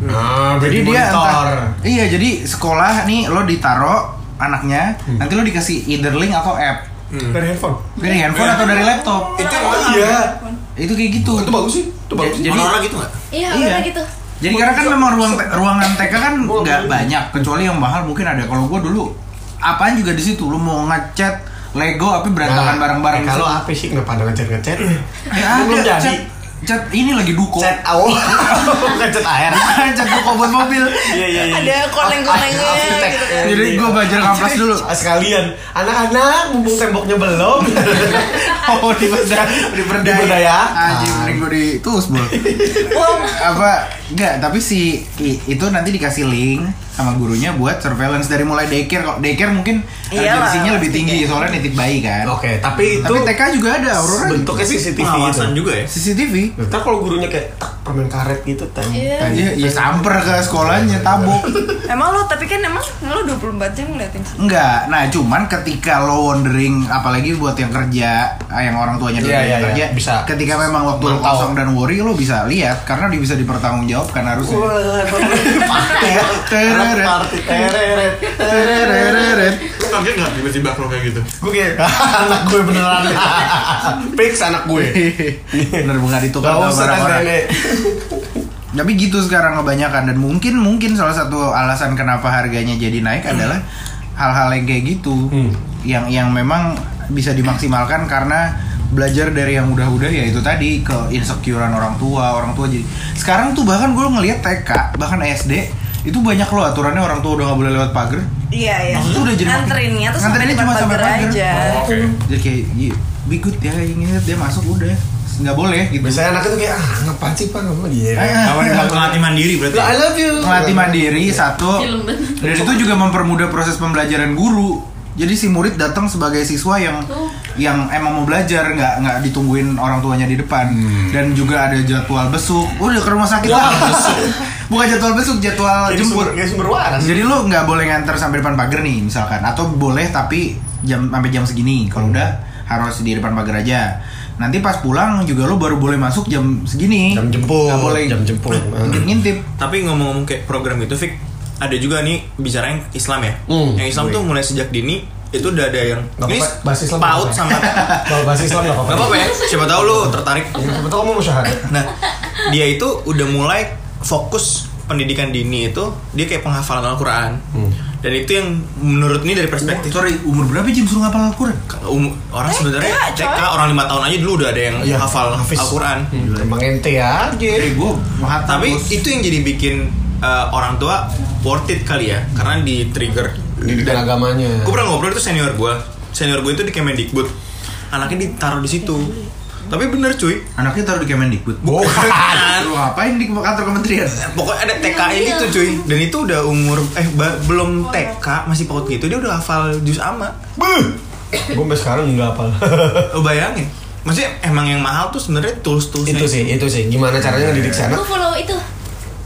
nah
jadi dia
monitor
entah- iya jadi sekolah nih lo ditaro anaknya nanti lo dikasih either link atau app
dari handphone
dari handphone atau dari laptop
Itu yang
Hmm. oh iya
itu kayak gitu
itu bagus sih itu bagus
Jadi-
Jadi orang gitu nggak?
iya
Iya.
udah gitu
jadi karena kan memang ruang te- ruangan TK kan
Gua
nggak
beli.
banyak kecuali yang mahal mungkin ada kalau gue dulu apaan juga di situ lu mau ngecat Lego tapi berantakan bareng-bareng
Nah, eh, kalau
di situ.
apa sih kenapa ada ngechat ngechat
Ya ada,
belum jadi
cat, cat ini lagi duko
chat awal bukan chat air
cat duko buat mobil
iya iya Ah, iya
Ada koneng-konengnya gitu kan.
Jadi gua belajar ngamplas dulu.
ah, Sekalian Anak-anak mumpung temboknya belum
oh di berdaya di
Diberdaya.
anjing mending gue di tus bol apa enggak tapi si i- itu nanti dikasih link sama gurunya buat surveillance dari mulai daycare kok daycare mungkin
Iyalah,
urgensinya lebih
pasti
tinggi
kayak-
soalnya nitip bayi kan
Oke tapi itu
tapi TK juga ada Aurora
Bentuknya CCTV itu
Pengawasan juga ya.
CCTV
Ntar kalau gurunya kayak tak permen karet gitu teh.
Iya.
Iya, ya samper ke sekolahnya tabok.
Emang lo tapi kan emang lo 24 jam ngeliatin
Enggak. Nah, cuman ketika lo wandering apalagi buat yang kerja, ah, yang orang tuanya dulu
Iya,
yang
iya,
kerja,
iya. Bisa.
Ketika memang waktu lo
Mantau.
kosong dan worry lo bisa lihat karena dia bisa dipertanggungjawabkan harusnya.
Party ya.
Tereret.
Party tereret.
Tereret.
Kaget nggak tiba-tiba kalau kayak gitu?
Gue kayak anak gue beneran. Fix anak gue.
Bener bukan
Gak
ditukar sama
usah
orang-orang.
nenek.
Tapi gitu sekarang kebanyakan dan mungkin mungkin salah satu alasan kenapa harganya jadi naik adalah hal-hal yang kayak gitu
Hmm.
yang yang memang bisa dimaksimalkan karena belajar dari yang udah-udah ya itu tadi ke insecurean orang tua orang tua jadi sekarang tuh bahkan gue ngelihat TK bahkan SD itu banyak loh aturannya orang tua udah nggak boleh lewat pagar
Iya iya.
Maksudnya udah jadi-
Nganterinnya tuh sampai
Nganterinnya
depan
cuma sampai
pagar
pagar.
aja.
Oke.
jadi kayak "Iya, be good ya inget dia masuk udah nggak boleh gitu Eh,
Biasanya anak itu kayak ah ngapain sih pak Iya. ngapain dia.
Kawan yang melatih mandiri berarti.
I love you.
melatih mandiri satu
Film bener.
dan itu juga mempermudah proses pembelajaran guru jadi si murid datang sebagai siswa yang
Tuh.
yang emang mau belajar nggak nggak ditungguin orang tuanya di depan
Hmm.
dan juga ada jadwal besuk udah ke rumah sakit lah bukan jadwal besuk jadwal
Jadi
jemput
sumber, kayak sumber waras.
jadi lo nggak boleh nganter sampai depan pagar nih misalkan atau boleh tapi jam sampai jam segini
Hmm.
kalau udah harus di depan pagar aja nanti pas pulang juga lo baru boleh masuk jam segini
Jam jemput.
nggak boleh
Jam jemput.
ngintip ngintip
Tapi ngomong-ngomong kayak program itu, Fik, ada juga nih bicara yang Islam ya.
Hmm.
Yang Islam tuh mulai sejak dini itu udah ada yang
Gak
ini
apa-apa, bahas Islam
paut
gak
sama Gak
Kalau bahasa Islam nggak apa-apa.
apa-apa ya. Siapa tahu lu tertarik.
Betul kamu mau syahadat.
Nah, dia itu
Hmm.
udah mulai fokus pendidikan dini itu dia kayak penghafalan Al-Qur'an. Dan itu yang menurut ini dari perspektif
Sorry, umur berapa Jim suruh ngapal Al-Quran?
um, orang sebenarnya TK orang lima tahun aja dulu udah ada yang hafal
Iya. hafiz. Hmm.
Al-Quran.
Iya, Emang ente ya, aja.
Eh, gue mahatan
Tapi itu yang jadi bikin uh, orang tua worth it kali ya, karena di trigger.
Pendidikan agamanya.
Gue pernah ngobrol itu senior gue, senior gue itu di Kemendikbud, anaknya ditaruh di situ. Tapi bener cuy,
Anaknya taruh di Kemendikbud.
bukan.
Lu ngapain di kantor kementerian?
Pokoknya ada TK ini tuh cuy, dan itu udah umur eh ba- belum TK masih paut gitu dia udah hafal juz ama.
Gue sampai sekarang nggak apa.
Lo bayangin, maksudnya emang yang mahal tuh sebenarnya tools tools
itu sih, itu sih. Gimana caranya ngedidik si anak?
Gue follow itu.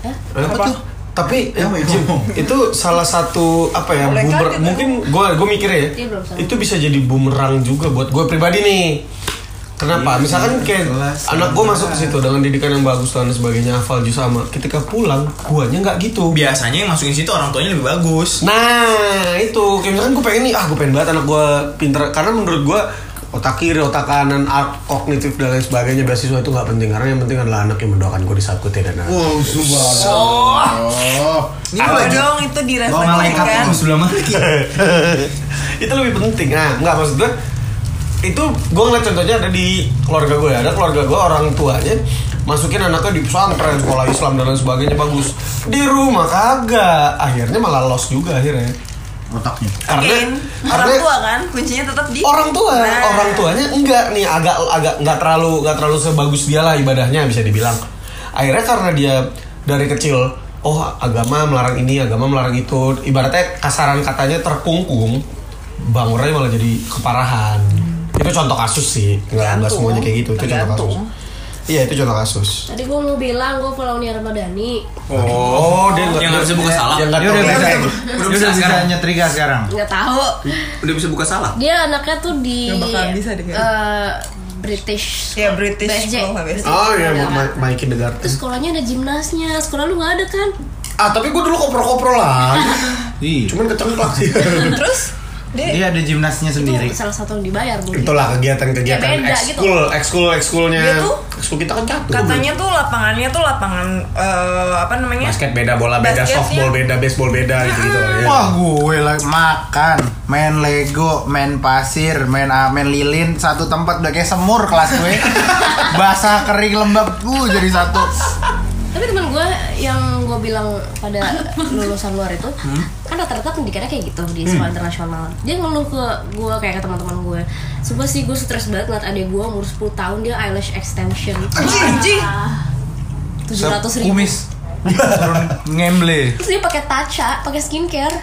Hah?
Apa, tuh? Tapi
Ya, apa ya?
Jim, itu salah satu apa ya?
Boleh kan
boomer-
gitu?
mungkin gue gue mikir ya.
Iya, belum sama.
Itu bisa jadi bumerang juga buat gue pribadi nih. Kenapa? Misalkan kayak
kelas,
anak gue masuk ke situ dengan didikan yang bagus dan sebagainya, hafal juga sama. Ketika pulang, guanya nggak gitu.
Biasanya yang masukin situ orang tuanya lebih bagus.
Nah itu kayak misalkan gue pengen nih ah gue pengen banget anak gue pinter karena menurut gue otak kiri otak kanan art kognitif dan lain sebagainya beasiswa itu nggak penting karena yang penting adalah anak yang mendoakan gue di saat gue tidak ada
Wow, subhanallah. Oh.
Ini boleh dong itu kan.
Oh, malaikat
direfleksikan.
itu sudah mati.
itu lebih penting nah nggak maksud gue itu gue ngeliat contohnya ada di keluarga gue ada keluarga gue orang tuanya masukin anaknya di pesantren sekolah Islam dan lain sebagainya bagus di rumah kagak akhirnya malah los juga akhirnya
Otaknya.
Again, orang tua kan kuncinya tetap di
orang tua
Nah.
orang tuanya enggak nih agak agak nggak terlalu nggak terlalu sebagus dia lah ibadahnya bisa dibilang akhirnya karena dia dari kecil oh agama melarang ini agama melarang itu ibaratnya kasaran katanya terkungkung bangurnya malah jadi keparahan itu contoh kasus sih nggak nggak
Tergantung.
semuanya kayak gitu itu contoh kasus
Tergantung.
iya itu contoh kasus
Tadi gue mau bilang gue follow Nia Ramadhani.
oh, dia nggak
yang
dia-
harusnya buka
dia-
salam.
dia nggak
Dia udah
tahu.
bisa,
Udah
dia
bisa
udah bisa
sekarang.
nyetrika sekarang.
Nggak tahu.
Udah bisa buka salah.
Dia anaknya tuh di
Ya, bakalan bisa deh kayaknya.
eh, British.
Ya, British
BSJ.
sekolah, BSJ.
oh iya
Ada.
Ma- Ma- Mike in the Garden.
Terus sekolahnya ada gymnasnya, sekolah lu nggak ada kan?
ah tapi gue dulu kopro-kopro lah
Iya.
cuman kecengklak sih
Terus dia
Dia ada gimnasnya sendiri.
Itu salah satu yang dibayar bu.
itulah kegiatan-kegiatan
Ya, beda
ekskul ekskul ekskulnya
Dia tuh
ekskul kita kan satu
katanya tuh lapangannya tuh lapangan eh, apa namanya?
basket beda bola beda
Basketnya.
softball beda baseball beda gitu gitu
Wah gue lagi makan, main Lego, main pasir, main ah, main lilin satu tempat udah kayak semur kelas gue, basah kering lembab gue jadi satu.
Tapi teman gue yang gue bilang pada lulusan luar itu
Hmm?
kan rata-rata pendidikannya kayak gitu di sekolah internasional. Dia ngeluh ke gue kayak ke teman-teman gue. Sumpah sih gue stres banget ngeliat adik gue umur 10 tahun dia eyelash extension.
Anjing, anjing.
Tujuh ratus ribu.
Kumis, Turun ngemble.
Terus dia pakai taca, pakai skincare,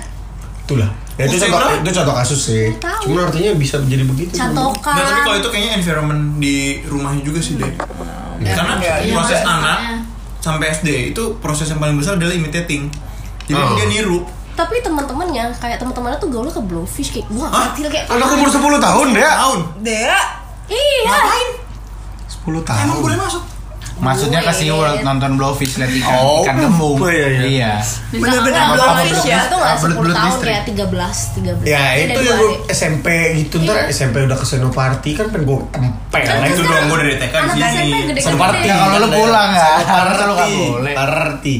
Nah,
itulah ya, itu
Usai
contoh
berapa?
itu contoh kasus sih
Tahu.
cuma artinya bisa jadi begitu
cantokan.
Nggak, tapi kalau itu kayaknya environment di rumahnya juga sih deh. Karena
Iya,
proses
iya.
anak sampai SD itu proses yang paling besar adalah imitating. Jadi
Oh.
dia niru.
tapi teman-temannya kayak teman-temannya tuh gaulnya ke blowfish kayak gua
Hah?
kecil kayak
anak umur 10 tahun ya? deh
Tahun.
Dia
iya
10 tahun
Emang boleh masuk.
Maksudnya ke SeaWorld nonton blowfish lihat ikan,
Oh,
ikan kembung.
oh, iya, iya.
Bener-bener
Enggak,
blowfish ya?
itu
Ah,
nggak
belut-
10
belut
tahun
listrik.
kayak 13 13
ya
Dia
itu
dari
ya
dua
gue
adik.
SMP gitu ntar
Iya.
SMP udah ke senoparty kan pengen gue tempel
Nah, itu
sekarang
doang gue dari TK di
anak SMP
sini.
gede-gede.
senoparty
Ya, kalau lu pulang ya, harusnya lu nggak
party
boleh.
party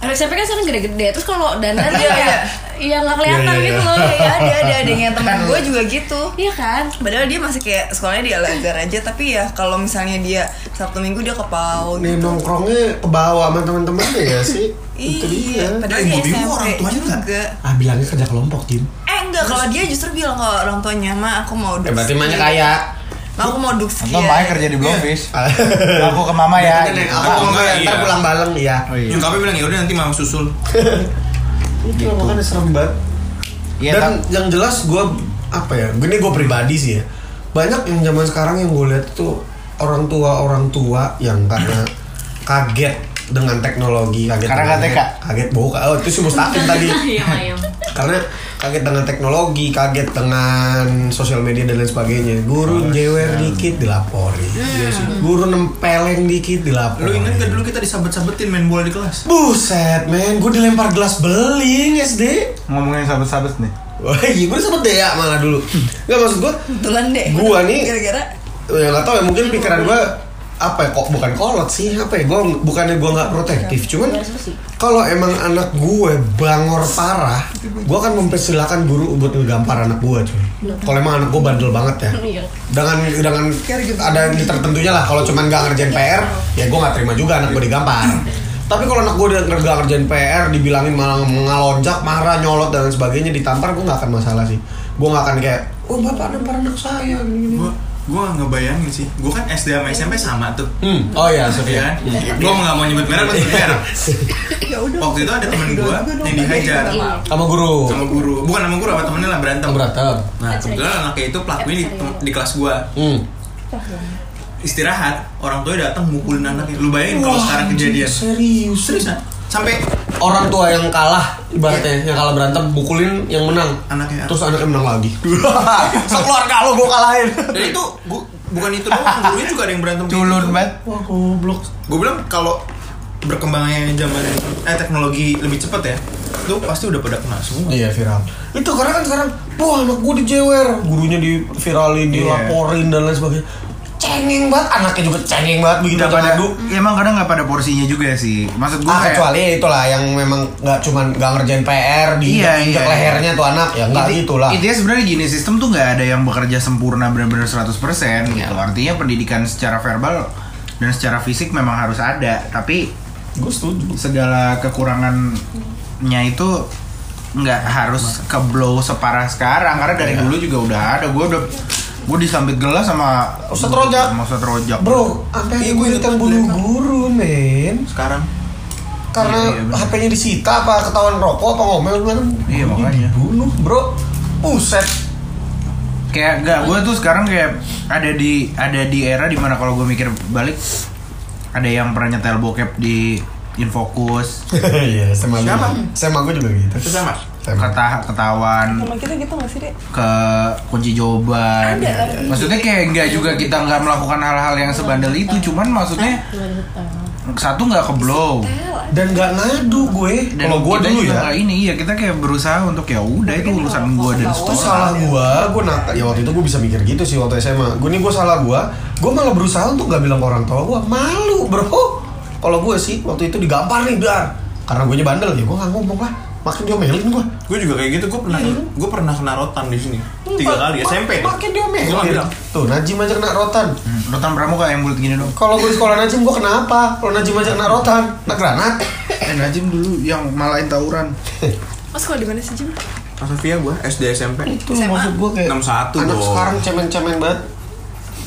anak SMP kan sekarang gede-gede terus kalau dandan dia
Iya,
kayak iya nggak kelihatan
Iya, iya,
gitu
iya.
loh
Iya,
ya
ada ada ada yang teman gue juga gitu.
iya kan
Padahal dia masih kayak sekolahnya di Al Azhar aja, tapi ya kalau misalnya dia Sabtu Minggu dia ke PAUD.
nih nongkrongnya ke bawah sama teman-temannya ya sih itu dia
Iya, padahal
Eh,
dia
gue
SMP
bingung orang tuanya nggak-
juga.
ah bilangnya kerja kelompok Jim
Eh enggak, kalau dia justru bilang ke orang tuanya, "Ma, aku mau
Eh,
duksi." Ma, aku mau duksi.
Atau
ya."
Maya kerja di blowfish. Aku ke mama ya.
Bener,
gitu.
aku mau
Iya.
ntar pulang bareng ya
Oh, iya.
Nyokapnya bilang ya udah nanti mama susul.
itu makanya serem banget
Iya,
dan
tapi-
yang jelas gue apa ya ini gue pribadi sih ya banyak yang zaman sekarang yang gue lihat tuh orang tua orang tua yang karena kaget dengan teknologi kaget
Karena
dengan-
nggak TK?
kaget bau oh itu sih mustahil tadi
Iya.
karena kaget dengan teknologi kaget dengan sosial media dan lain sebagainya guru jewer dikit dilaporin guru nempeleng dikit dilaporin
Lu inget gak dulu kita disabet-sabetin main bola di kelas?
Buset men, gue dilempar gelas beling SD
Ngomongin sabes-sabes nih.
Wah iya gue sempet deh ya malah dulu Gak maksud gue
Kebetulan deh.
Gua nih-
gara-gara
Ya gak tau ya mungkin pikiran gue apa ya kok bukan kolot sih apa ya gue bukannya gue nggak protektif cuman
Nggak susi.
kalau emang anak gue bangor parah gue akan mempersilahkan guru buat ngegampar anak gue cuy kalau emang anak gue bandel banget ya
Iya.
dengan dengan ada yang tertentunya lah kalau cuman nggak ngerjain PR ya gue nggak terima juga anak gue digampar tapi kalau anak gue udah nggak ngerjain PR dibilangin malah ngalonjak marah nyolot dan lain sebagainya ditampar gue nggak akan masalah sih gue nggak akan kayak oh bapak nampar anak saya gini, gini.
Gua gue ngebayangin sih gue kan SD sama SMP sama tuh
Hmm. oh iya
Iya
Sofia
kan? Gue nggak mau nyebut merah, gue nyebut merah. Waktu itu ada temen gue yang dihajar
sama guru
sama guru, bukan sama guru, sama temennya lah berantem.
berantem
Nah kebetulan anaknya itu pelakunya di, tem- di kelas gue
hmm.
istirahat, orang tuanya datang mukulin anaknya. Lu bayangin kalau sekarang kejadian?
serius
Seriusan? Sampai
orang tua yang kalah ibaratnya yang kalah berantem mukulin yang menang
Anaknya.
terus anaknya menang lagi sekeluarga lo gue kalahin
dan itu gua, bukan itu doang, gurunya juga ada yang berantem.
culun banget
wah goblok
Gue bilang kalau berkembangnya zaman eh teknologi lebih cepat ya, itu pasti udah pada kena semua.
Iya viral. Itu karena kan sekarang, wah anak gue dijewer, gurunya diviralin, dilaporin dan lain sebagainya. Cengeng banget, anaknya juga cengeng banget begitu
Nggak
aja
pada,
ngadu.
emang kadang nggak pada porsinya juga sih. Maksud gue
Ah
kayak
kecuali ya itulah yang memang nggak cuman nggak ngerjain PR di
Iya,
injak
iya.
lehernya tuh anak ya nggak
Inti-
gitulah.
Intinya sebenarnya gini, sistem tuh nggak ada yang bekerja sempurna benar-benar 100%
Iya.
gitu. Artinya pendidikan secara verbal dan secara fisik memang harus ada, tapi
Gue setuju.
segala kekurangannya itu nggak harus ke blow separah sekarang karena dari
Iya.
dulu juga udah ada gue udah gue disambit gelas sama
Ustadz Rojak.
sama Ustadz Rojak
Bro, apa yang gue ditang bulu guru men?
Sekarang
Karena
Iya, iya, bener.
HP-nya disita apa ketahuan rokok apa ngomel gimana?
Iya,
Gurunya
makanya.
Dibunuh bro. Puset.
kayak gak gue tuh sekarang kayak ada di ada di era dimana kalau gue mikir balik ada yang pernah nyetel bokep di Infokus
Iya, sama gue.
Siapa?
Sama gue juga gitu.
itu sama.
Sama.
keta ketahuan
Teman kita gitu gak sih, Dek?
ke kunci jawaban
Ada.
maksudnya kayak nggak juga kita nggak melakukan hal-hal yang sebandel itu cuman maksudnya
Ah,
satu nggak ke blow
dan nggak ngadu gue
Dan
kalau gue
kita
dulu
juga
ya
nggak ini iya kita kayak berusaha untuk ya udah itu
kan
urusan gue dan
itu
seterusnya
salah gue gue nakal ya waktu itu gue bisa mikir gitu sih waktu SMA gue nih gue salah gue gue malah berusaha untuk nggak bilang ke orang tua gue malu bro kalau gue sih waktu itu digampar nih dar karena gue bandel ya gue nggak ngomong lah makin diomelin gue
Gue juga kayak gitu, gue pernah gue pernah kena rotan di sini tiga
Ma-
kali
ma-
SMP.
makin
Gua nggak
diomelin
bilang.
tuh Najim aja kena rotan
Hmm, rotan pramuka yang bulat gini dong
kalau gue di sekolah Najim gue kenapa kalau Najim aja kena rotan kena granat
eh Najim dulu yang malahin tawuran
Mas kalau di mana sih, Jim?
Mas Sofia gue SD SMP
itu maksud gue kayak
61
anak
dong.
sekarang cemen-cemen banget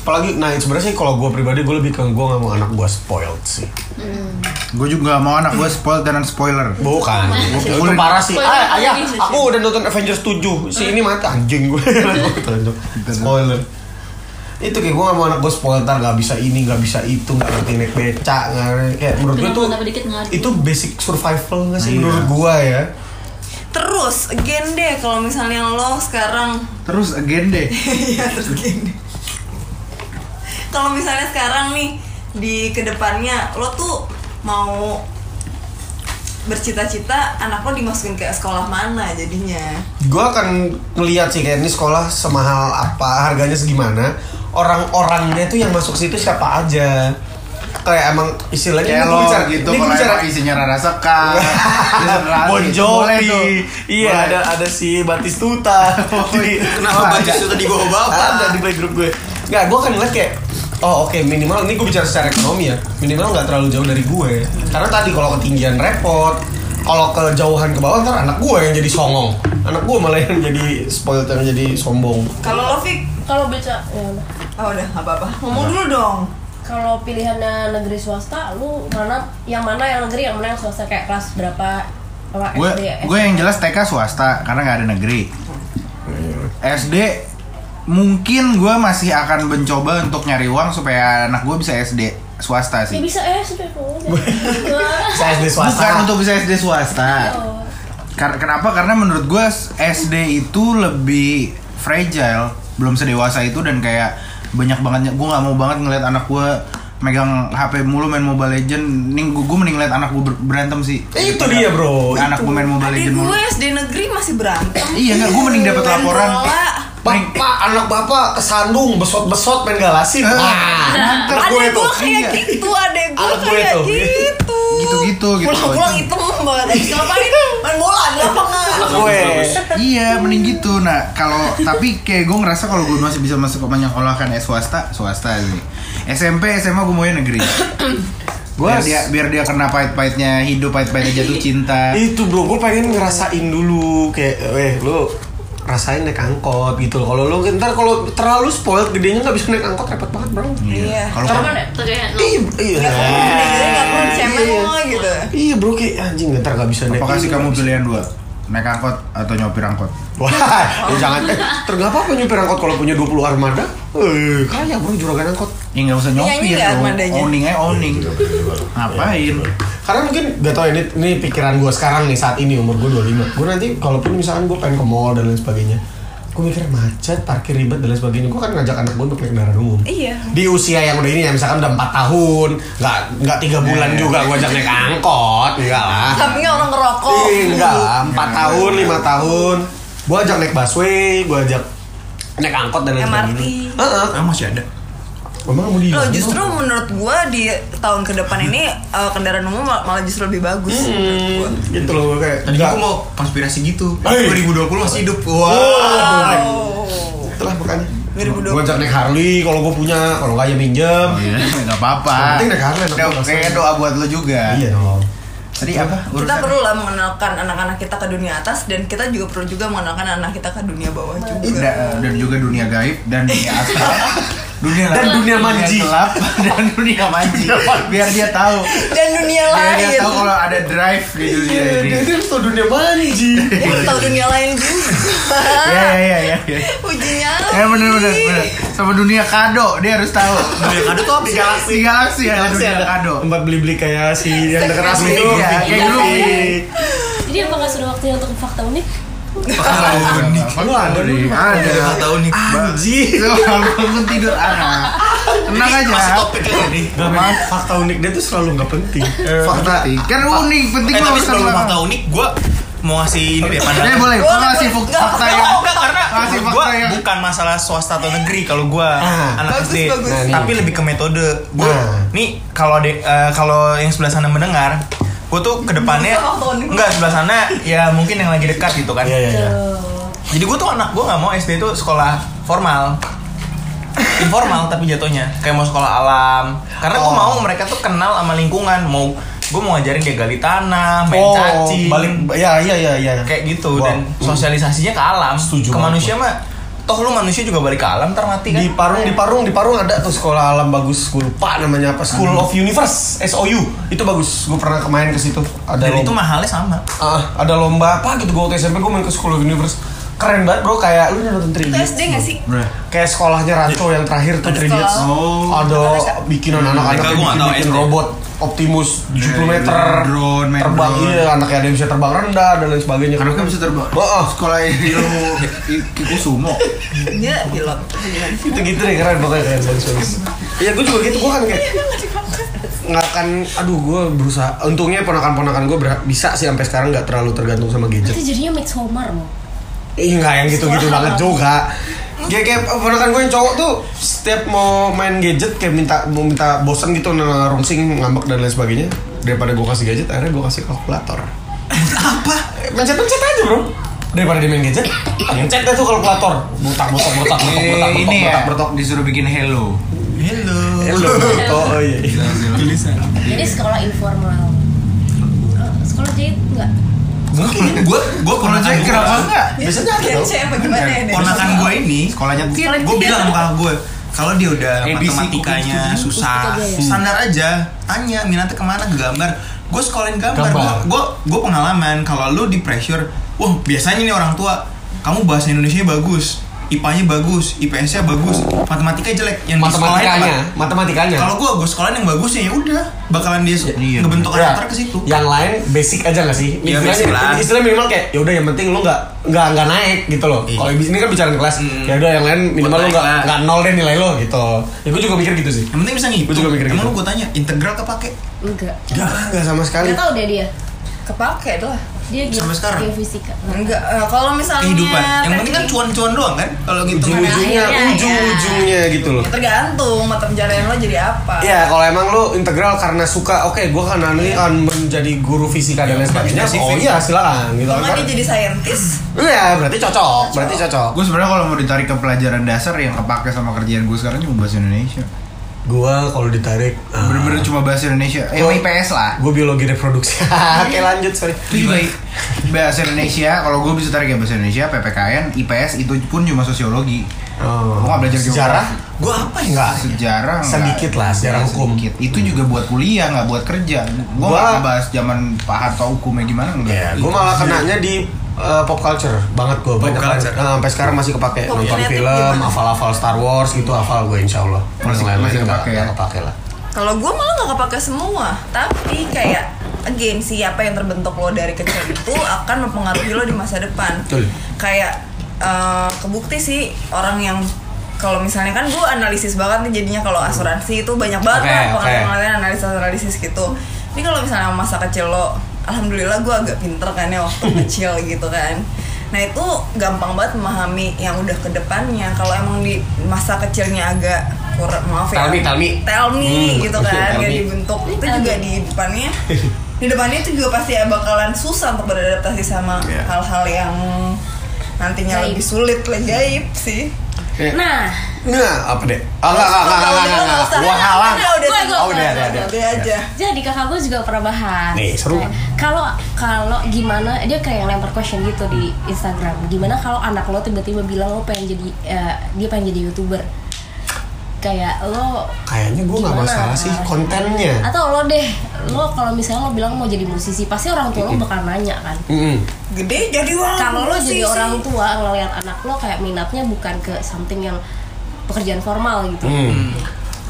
apalagi nah sebenarnya sih kalau gue pribadi gue lebih ke gue nggak mau anak gue spoiled sih
gue juga nggak mau anak gue spoil dan spoiler
bukan itu
Spoiled.
parah sih
Spoiled
ah, ayah
lagi sih.
aku udah nonton Avengers 7 si ini mati anjing gue spoiler itu kayak gue gak mau anak gue spoiler ntar gak bisa ini gak bisa itu gak ngerti naik becak nggak ngerti- kayak menurut gue
Kenapa
tuh
tambah dikit ngadu?
itu basic survival gak sih menurut gue ya
Terus, again deh kalau misalnya lo sekarang
terus again deh
Iya terus gini Kalau misalnya sekarang nih di kedepannya lo tuh mau bercita-cita anak lo dimasukin ke sekolah mana jadinya
gue akan ngeliat sih kayak ini sekolah semahal apa harganya segimana orang-orangnya tuh yang masuk situ siapa aja kayak emang istilahnya ini
kayak
gua
lo
bicara-
gitu
ini gua
kalau
bicara
emang isinya Rara Sekar
Bon Jovi iya ada
ada
ada si Batistuta Jadi-
Kenapa baca itu tadi gue bawa?
ada di playgroup gue nggak gue kan ngeliat kayak oh oke minimal ini gue bicara secara ekonomi ya minimal nggak terlalu jauh dari gue karena tadi kalau ketinggian repot kalau kejauhan ke bawah ntar anak gue yang jadi songong anak gue malah yang jadi spoiled yang jadi sombong
Kalau lo Fik,
Kalau baca, ya udah.
oh udah nggak apa-apa Ngomong dulu dong
Kalau pilihannya negeri swasta, lu mana yang mana yang negeri, yang mana yang swasta kayak kelas berapa? Apa
gue
SD,
gue yang jelas TK swasta karena nggak ada negeri
Iya.
SD mungkin gue masih akan mencoba untuk nyari uang supaya anak gue bisa SD swasta
Ya
Iya.
sih
bisa eh sudah Gua-
saya SD swasta
bukan untuk bisa SD swasta Kar- kenapa karena menurut gue SD itu lebih fragile belum sedewasa itu dan kayak banyak banget gue nggak mau banget ngeliat anak gue megang HP mulu main Mobile Legend, nih gue mending liat anak gue ber- berantem sih.
Eh, itu dia, bro.
Anak gue main Mobile
Adik
Legend mulu.
gue SD negeri masih berantem
Iya nggak, gue mending dapat
Main
laporan.
bola.
Bapak, anak bapak kesandung, besot-besot main galasin. Wah, anak gue
Ada
tuh. Iya.
gue kayak gitu, ada gue
Anak gue
kayak
tuh.
gitu.
Gitu-gitu gitu.
Pulang-pulang hitam banget. Abis ngapain? Main bola di lapangan.
Anak gue.
Iya, mending gitu. Nah, kalau tapi kayak gue ngerasa kalau gue masih bisa masuk ke banyak sekolah kan eh, swasta, swasta sih. SMP, SMA gue maunya negeri. gue
Yes.
dia biar dia kena pahit-pahitnya hidup, pahit-pahitnya jatuh cinta.
Itu bro, gue pengen ngerasain dulu kayak, eh lu rasain naik angkot gitu loh. Kalau lu ntar kalau terlalu spoiled gedenya nggak bisa naik angkot repot banget bro.
Hmm.
Iya.
Kalau
Kamu kan kayak
Iya, iya.
Gede-gede nggak perlu dicemil gitu.
Iya bro kayak anjing ntar nggak bisa naik.
apa kasih
ini,
kamu
nggak bisa.
pilihan dua? Naik angkot atau nyopir angkot?
Wah, ya jangan. Eh, ter nggak apa-apa nyupir angkot kalau punya 20 armada. Eh, kaya bro juragan angkot.
Ya nggak usah
Nyanyi nggak
nyopir dong.
Iya, armadanya?
Owning aja owning. Ngapain?
Karena mungkin gak tau ya, ini, ini pikiran gue sekarang nih saat ini umur gue 25 Gue nanti kalaupun misalkan gue pengen ke mall dan lain sebagainya Gue mikir macet, parkir ribet dan lain sebagainya Gue kan ngajak anak gue untuk naik kendaraan umum
Iya.
Di usia yang udah ini ya misalkan udah 4 tahun Gak, nggak 3 bulan
Nah.
juga gue ajak naik angkot Enggak lah
Sampingnya orang ngerokok.
Ih, enggak lah, 4 tahun, 5 tahun Gue ajak naik busway, gue ajak naik angkot dan lain
MRT.
sebagainya Heeh.
Ah, masih ada.
Emang mau di
Loh justru menurut gua di tahun ke depan ini eh, kendaraan umum mal- malah justru lebih bagus menurut gua.
Hmm, gitu loh gue kayak
Tadi
nggak.
aku mau konspirasi gitu.
Hey.
2020 masih hidup. Wah.
Wow.
Itulah makanya.
2020.
Gue ajak naik Harley kalau gue punya, kalau nggak ya pinjem.
Iya, nggak apa-apa.
Yang penting naik Harley,
Doa-
aku
Kayak
rasain.
doa buat lo juga.
Iya dong.
Tadi apa?
Kita
Urusan-
perlu lah mengenalkan anak-anak kita ke dunia atas dan kita juga perlu juga mengenalkan anak kita ke dunia bawah juga.
Da- eh, dan juga dunia gaib dan dunia astral dunia
Dan
gelap,
dunia manji.
gelap dan dunia manji biar dia tahu
Dan dunia
biar
lain.
dia Iya, tahu kalau ada drive di dunia ini
Dia itu tuh dunia manji.
Dia Iya, tahu dunia lain juga.
ya ya ya ya ya
Uji nyali.
ya bener bener bener sama dunia kado dia harus tahu
Dunia kado tuh apa
di
sih?
galaksi di galaksi ada dunia kado
Tempat beli-beli kayak si yang dekat gitu. asli itu.
Iya, kayak dulu.
Jadi apakah
Iya.
sudah waktunya untuk fakta unik?
Lu ada nih.
ada
Nggak tahu nih.
Anjir.
Itu bangun tidur anak tenang aja
Masih topik lagi.
Gak maaf, fakta unik dia tuh selalu nggak penting.
fakta kan unik penting
Eh
lo
tapi
usah
sebelum
ulang.
fakta unik, gue mau ngasih ini deh
Eh
pandangan.
boleh, gue ngasih fak-
Nggak,
fakta ya.
nggak,
yang
Enggak karena
Kasih fakta
gua
yang-
bukan masalah swasta atau negeri kalau gua
Ah.
anak
Bagus,
SD.
bagus.
Nah, nih.
Tapi lebih ke metode. Gua
Nah.
nih kalau de eh, kalau yang sebelah sana mendengar, gua tuh kedepannya
Bukan waktu unik.
enggak sebelah sana ya mungkin yang lagi dekat gitu kan.
Iya, iya, iya.
Jadi gua tuh anak gua nggak mau SD itu sekolah formal informal tapi jatuhnya kayak mau sekolah alam karena gua
Oh.
mau mereka tuh kenal sama lingkungan mau gua mau ngajarin dia gali tanah main
Oh,
cacing
balik ya iya iya iya.
kayak gitu
Wow. Hmm.
dan sosialisasinya ke alam
Setuju
ke
banget
manusia mah toh lu manusia juga balik ke alam ntar mati kan
di Parung di Parung di Parung ada tuh sekolah alam bagus gue lupa namanya apa School of Universe SOU itu bagus gue pernah main ke situ ada
dan itu
lomba-
mahalnya sama
Ah, ada lomba apa gitu gue waktu SMP gue main ke School of Universe keren banget bro kayak lu nonton 3
Itu
Idiots
SD nggak sih?
kayak sekolahnya Ranto yang terakhir tuh 3 Idiots
Iya. Oh.
ada bikinan anak-anak
Mereka
yang
gua nggak tahu
bikin
SD.
robot Optimus 70 meter
Iya, main drone, main
terbang
drone.
iya anaknya ada yang bisa terbang rendah dan lain sebagainya
Anaknya kan bisa terbang.
oh,
sekolah ilmu
Eh,
Kikusumo.
Dia pilot.
itu gitu deh keren pokoknya keren bagus bagus iya gue juga gitu gue kan kayak
Iya,
nggak akan aduh gue berusaha untungnya ponakan-ponakan gue bisa sih sampai sekarang nggak terlalu tergantung sama gadget
Eh, Itu jadinya Max Homer mau.
Ih nggak yang gitu-gitu banget juga Dia kayak ponakan gue yang cowok tuh Setiap mau main gadget kayak minta mau minta bosen gitu nah, Rungsing, ngambek dan lain sebagainya Daripada gue kasih gadget akhirnya gue kasih kalkulator Apa? Pencet-pencet aja bro Daripada dia main gadget Pencet deh tuh kalkulator Botak, botak, botak, botak, botak, botak,
ini
botak,
ya,
botak,
disuruh bikin hello.
hello
Hello, botak, oh iya
tulisan
Jadi sekolah informal. Eh, Sekolah jahit enggak?
mungkin gue gue
Kalau
ponakan
jadi
gue
kenapa enggak?
Biasanya ada
Kayak
tau
cewek apa gimana ya? Dek?
ponakan gue ini
Sekolahnya tuh
gue bilang sama gue kalau dia udah
ABC,
matematikanya
kukus,
susah
kukus, kukus aja ya.
standar aja tanya minatnya kemana ke gambar gue sekolahin gambar
Gambar.
gue gue pengalaman kalau lu di pressure wah biasanya nih orang tua kamu bahasa Indonesia bagus IPA-nya bagus, IPS-nya bagus, matematikanya jelek. Yang di sekolahin
Matematikanya,
apa?
matematikanya
Kalau gua gua sekolahin yang bagusnya ya udah bakalan dia
iya.
ngebentuk
Ya,
karakter ke situ.
Yang lain basic aja gak sih?
Ya,
Istilahnya-
basic lah.
Istilahnya minimal kayak ya udah yang penting lu nggak nggak nggak naik gitu loh.
Iya.
Kalau ibis ini kan bicara di kelas,
Hmm.
ya udah yang lain minimal lu
Buat naik
nggak
lah.
nggak nol deh nilai lo gitu. Ya gue juga mikir gitu sih.
Yang penting bisa
Gua
ngitung.
juga mikir
Emang
gitu.
lu gua tanya integral kepake?
Enggak.
Enggak, enggak sama sekali.
Enggak tahu deh dia.
Kepake lah.
Dia gila.
Sampai sekarang?
fisika.
Enggak, eh, kalau misalnya
kehidupan yang penting kan
teknik-
cuan-cuan doang kan kalau gitu
ujung ujungnya
Akhirnya, ya.
ujung ujungnya gitu loh
tergantung mata pencarian lo jadi apa.
Iya, kalau emang lo integral karena suka, oke, gua kan nanti
Iya.
akan menjadi guru fisika dan lain sebagainya.
spesifik.
Oh iya, silakan gitu.
Kalau nggak dia
Karena-
jadi saintis,
Iya, berarti cocok, berarti cocok.
Gue sebenarnya kalau mau ditarik ke pelajaran dasar yang kepake sama kerjaan gue sekarang cuma bahasa Indonesia.
Gua kalau ditarik, ah,
Bener-bener cuma bahasa Indonesia. Eh,
Gua-
Oh.
IPS lah.
gua biologi reproduksi. oke, lanjut, sorry.
Itu juga bahasa Indonesia. Kalau gue bisa tarik ya bahasa Indonesia, PPKN, IPS itu pun cuma sosiologi.
Oh,
Gua nggak belajar geografi.
sejarah. Gua apa ya? Enggak.
Sejarah nggak-
Sedikit lah, sejarah
Iya,
hukum.
sedikit. Itu juga buat kuliah, nggak buat kerja. Gue
Hmm. Gua-
nggak bahas zaman Pak Harto hukumnya gimana enggak.
Iya, gua malah kenanya di eh, pop culture banget gua banyak banget.
culture.
Nah, sampai sekarang masih kepake
Pop
nonton
kreatif
film,
gimana?
hafal-hafal Star Wars gitu, hafal gua insya Allah. Kalau
Masih-
yang lain-lain
masih
nggak-
kepake ya?
nggak kepake lah.
kalau gue malah nggak kepake semua. Tapi kayak again siapa yang terbentuk lo dari kecil itu akan mempengaruhi lo di masa depan.
Betul.
Kayak eh, kebukti sih orang yang kalau misalnya kan gue analisis banget nih jadinya kalau asuransi itu banyak
Oke,
banget lah
oke.
pengamatan analisis analisis gitu. Ini kalau misalnya masa kecil lo, alhamdulillah gue agak pinter kan ya waktu kecil gitu kan. Nah itu gampang banget memahami yang udah ke depannya. Kalau emang di masa kecilnya agak kurang maaf ya.
Tell me, tell me.
Tell me
Hmm,
gitu
oke,
kan,
tell
gak
me.
dibentuk. Itu juga di depannya. Di depannya itu juga pasti ya bakalan susah untuk beradaptasi sama
Iya.
hal-hal yang nantinya
Gaib.
lebih sulit, lebih gaib sih.
Iya.
Nah,
Nah, apa deh? Ah, enggak, enggak, enggak, enggak, enggak, enggak. Gua halang.
Udah, udah,
Gua, gua,
Oh, udah, udah, udah.
udah aja.
jadi kakak gue juga pernah bahas.
Nih, seru.
Kayak, Kalau kalau gimana dia kayak lempar question gitu di Instagram. Gimana kalau anak lo tiba-tiba bilang lo pengen jadi eh, dia pengen jadi youtuber? Kayak lo
Kayaknya gua nggak
Gimana?
masalah sih kontennya.
atau lo deh lo kalau misalnya lo bilang mau jadi musisi pasti orang tua lo bakal nanya kan
Mm-mm.
Gede jadi orang.
kalau lo jadi
musisi.
orang tua ngeliat anak lo kayak minatnya bukan ke something yang pekerjaan formal gitu
Hmm.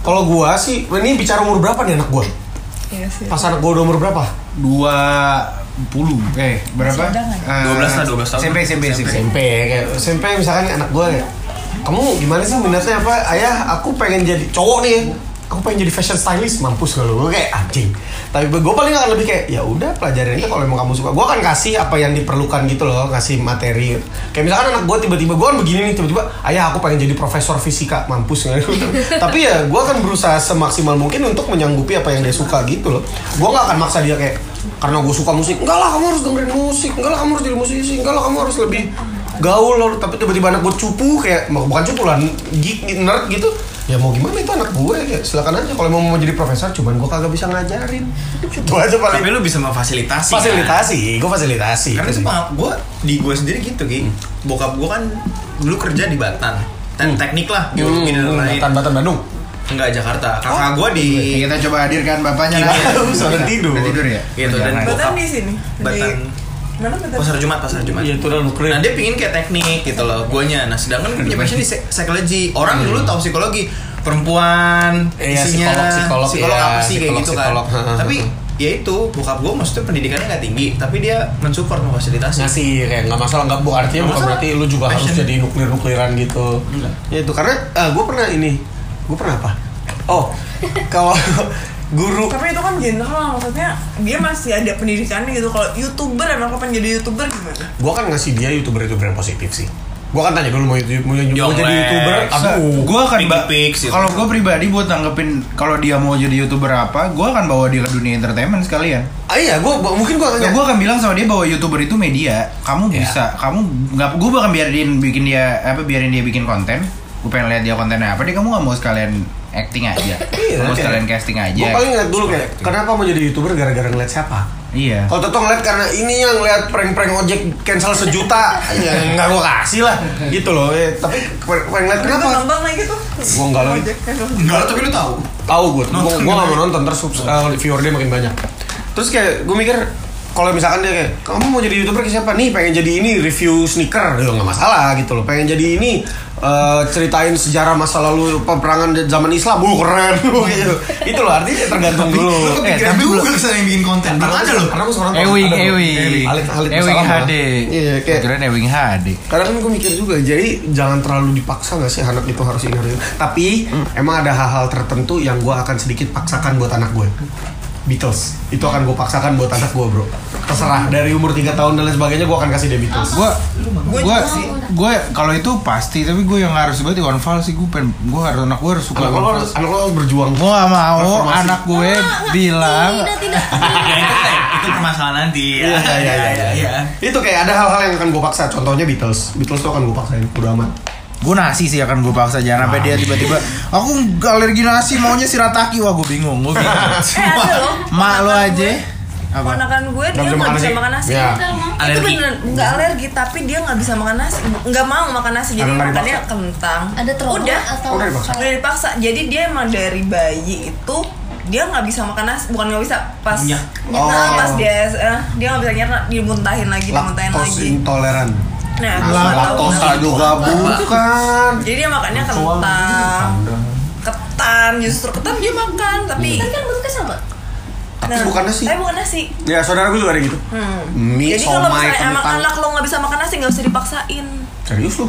Kalau gua sih, ini bicara umur berapa nih anak gua?
Iya sih.
Pas anak gua udah umur berapa?
Dua puluh, eh berapa?
Masih ada nggak?
Eh,
12 lah, 12 tahun.
SMP, SMP,
Iya,
SMP.
SMP ya, kayak SMP misalkan nih anak gua ya. Kamu gimana sih minatnya apa? Ayah, aku pengen jadi cowok nih. Aku pengen jadi fashion stylist, mampus kalau gua kayak anjing. Tapi gua paling akan lebih kayak ya udah pelajarin aja kalau emang kamu suka. Gua akan kasih apa yang diperlukan gitu loh, kasih materi. Kayak misalkan anak gua tiba-tiba gua kan begini nih tiba-tiba, ayah aku pengen jadi profesor fisika, mampus nggak gitu. Tapi ya gua akan berusaha semaksimal mungkin untuk menyanggupi apa yang dia suka gitu loh. Gua nggak akan maksa dia kayak karena gue suka musik, enggak lah kamu harus dengerin musik, enggak lah kamu harus jadi musisi, enggak lah kamu harus lebih gaul loh tapi tiba-tiba anak gue cupu kayak bukan cupu lah geek nerd gitu ya mau gimana itu anak gue kayak silakan aja kalau mau mau jadi profesor cuman gue kagak bisa ngajarin itu aja
tapi
paling
lu bisa memfasilitasi kan?
fasilitasi gue fasilitasi
karena itu gue di gue sendiri gitu Ki
Hmm.
bokap gue kan dulu kerja di Batan
Hmm.
dan teknik lah geologi dan lain-lain
Batan Batan Bandung
enggak Jakarta kakak
Oh.
gue di
Ya, kita coba hadirkan bapaknya lah.
Iya,
sudah tidur.
Udah tidur ya?
Gitu, dan
Ah,
Jangan.
Batan
Bokap.
di sini. Di-
Batan
Mana Batan?
Oh,
pasar Jumat pasar Jumat
Iya, itu udah nuklin
Nah dia pingin kayak teknik gitu loh guanya Nah sedangkan
Hmm.
punya passion di psik- psikologi Orang dulu tahu psikologi Perempuan
Iya,
isinya
psikolog, psikolog, iya,
apa sih kayak
psikolog,
gitu
psikolog.
kan Tapi ya itu bokap gue maksudnya pendidikannya nggak tinggi Tapi dia mensupport memfasilitasi
ngasih kayak nggak masalah nggak bu artinya
Nggak
bukan
masalah.
berarti lu juga harus
Passion.
jadi nuklir nukliran gitu
Enggak.
ya itu karena gue pernah ini gue pernah apa oh kalau guru
Tapi itu kan general maksudnya dia masih ada pendidikannya gitu. Kalau youtuber anak lo pengen jadi youtuber gimana?
gue kan ngasih dia youtuber youtuber yang positif sih gue kan tanya dulu mau, YouTube, mau, mau
Yonglex.
jadi youtuber aduh
gue akan
Piggy
ba-
Pigs gitu.
kalau gue pribadi buat tanggepin kalau dia mau jadi youtuber apa gue akan bawa dia ke dunia entertainment sekalian
ah, iya gue mungkin gue
Ya,
tanya
gue akan bilang sama dia bahwa youtuber itu media kamu
Iya.
bisa kamu nggak gue bahkan biarin bikin dia apa biarin dia bikin konten gue pengen lihat dia kontennya apa dia kamu nggak mau sekalian acting aja
Iya,
mau
oke.
sekalian casting aja
gue paling ngeliat dulu kayak kenapa mau jadi youtuber gara-gara ngeliat siapa
iya
kalau Toto ngeliat karena ini yang ngeliat prank-prank ojek cancel sejuta ya nggak gue kasih lah gitu loh ya, tapi pengen ngeliat
Kenapa?
kenapa
Nambah lagi tuh.
Gua nggak lagi.
Ojek kan.
Enggak tapi lu tahu
tahu gue gue
Nonton
gak
gitu.
mau nonton terus subs- uh, viewer dia makin banyak terus kayak gue mikir kalau misalkan dia kayak kamu mau jadi youtuber kayak siapa nih pengen jadi ini review sneaker ya nggak masalah gitu loh pengen jadi ini uh, ceritain sejarah masa lalu peperangan di zaman Islam uh keren gitu itu loh artinya tergantung dulu
Eh, tapi juga kesana yang bikin konten Belum ada loh
karena gue seorang
Ewing,
ada, bro.
Ewing.
Alik- Alik
Ewing
Musalamah.
HD.
iya kayak
Keren Ewing HD
karena kan gue mikir juga, jadi jangan terlalu dipaksa gak sih anak itu harus ini harus ini. Tapi emang ada hal-hal tertentu yang gue akan sedikit paksakan buat anak gue. Beatles itu akan gue paksakan buat anak gue bro. terserah dari umur 3 tahun dan lain sebagainya gue akan kasih dia Beatles
gue gue gue kalau itu pasti tapi gue yang harus banget Iwan Fals sih gue pengen gue harus anak gue harus suka
anak lo
Iwan
harus
Fals
anak lo harus berjuang
gue gak mau
Reformasi.
anak gue bilang
tidak tidak
ya itu itu permasalahan nanti ya
Iya, iya, iya, iya, iya. Itu kayak ada hal-hal yang akan gue paksa. Contohnya Beatles. Beatles tuh akan gue paksain. Udah amat.
gue nasi sih akan gue paksa jangan
Ah,
sampai dia tiba-tiba aku nggak alergi nasi maunya sirataki wah gue bingung gue bingung
Eh ada loh
mak lo aja apa
Ponakan gue
Nggak bisa
dia nggak
makan
bisa
nasi.
makan nasi gitu.
Iya.
Itu
Alergi.
beneran nggak alergi tapi dia nggak bisa makan nasi Nggak mau makan nasi jadi
Karena nggak
makannya
dipaksa.
kentang
ada trauma
Udah
atau
Udah dipaksa.
Udah dipaksa Jadi dia emang dari bayi itu dia nggak bisa makan nasi bukan nggak bisa pas
Nyah.
Nyerna,
Oh.
pas dia eh, dia nggak bisa nyerna dimuntahin lagi dimuntahin
Laktos
lagi
intoleran.
nah
Nah,
gue nggak tahu
Laktos
kenapa.
juga bukan.
jadi dia makannya kentang ketan justru ketan dia makan tapi Nah,
kan bentuknya sama
Tapi bukan nasi.
tapi bukan nasi
Ya saudara gue juga ada gitu. Mie,
Hmm. Jadi kalau
somai,
misalnya emang
kentang.
anak lo nggak bisa makan nasi nggak usah dipaksain.
Serius lu?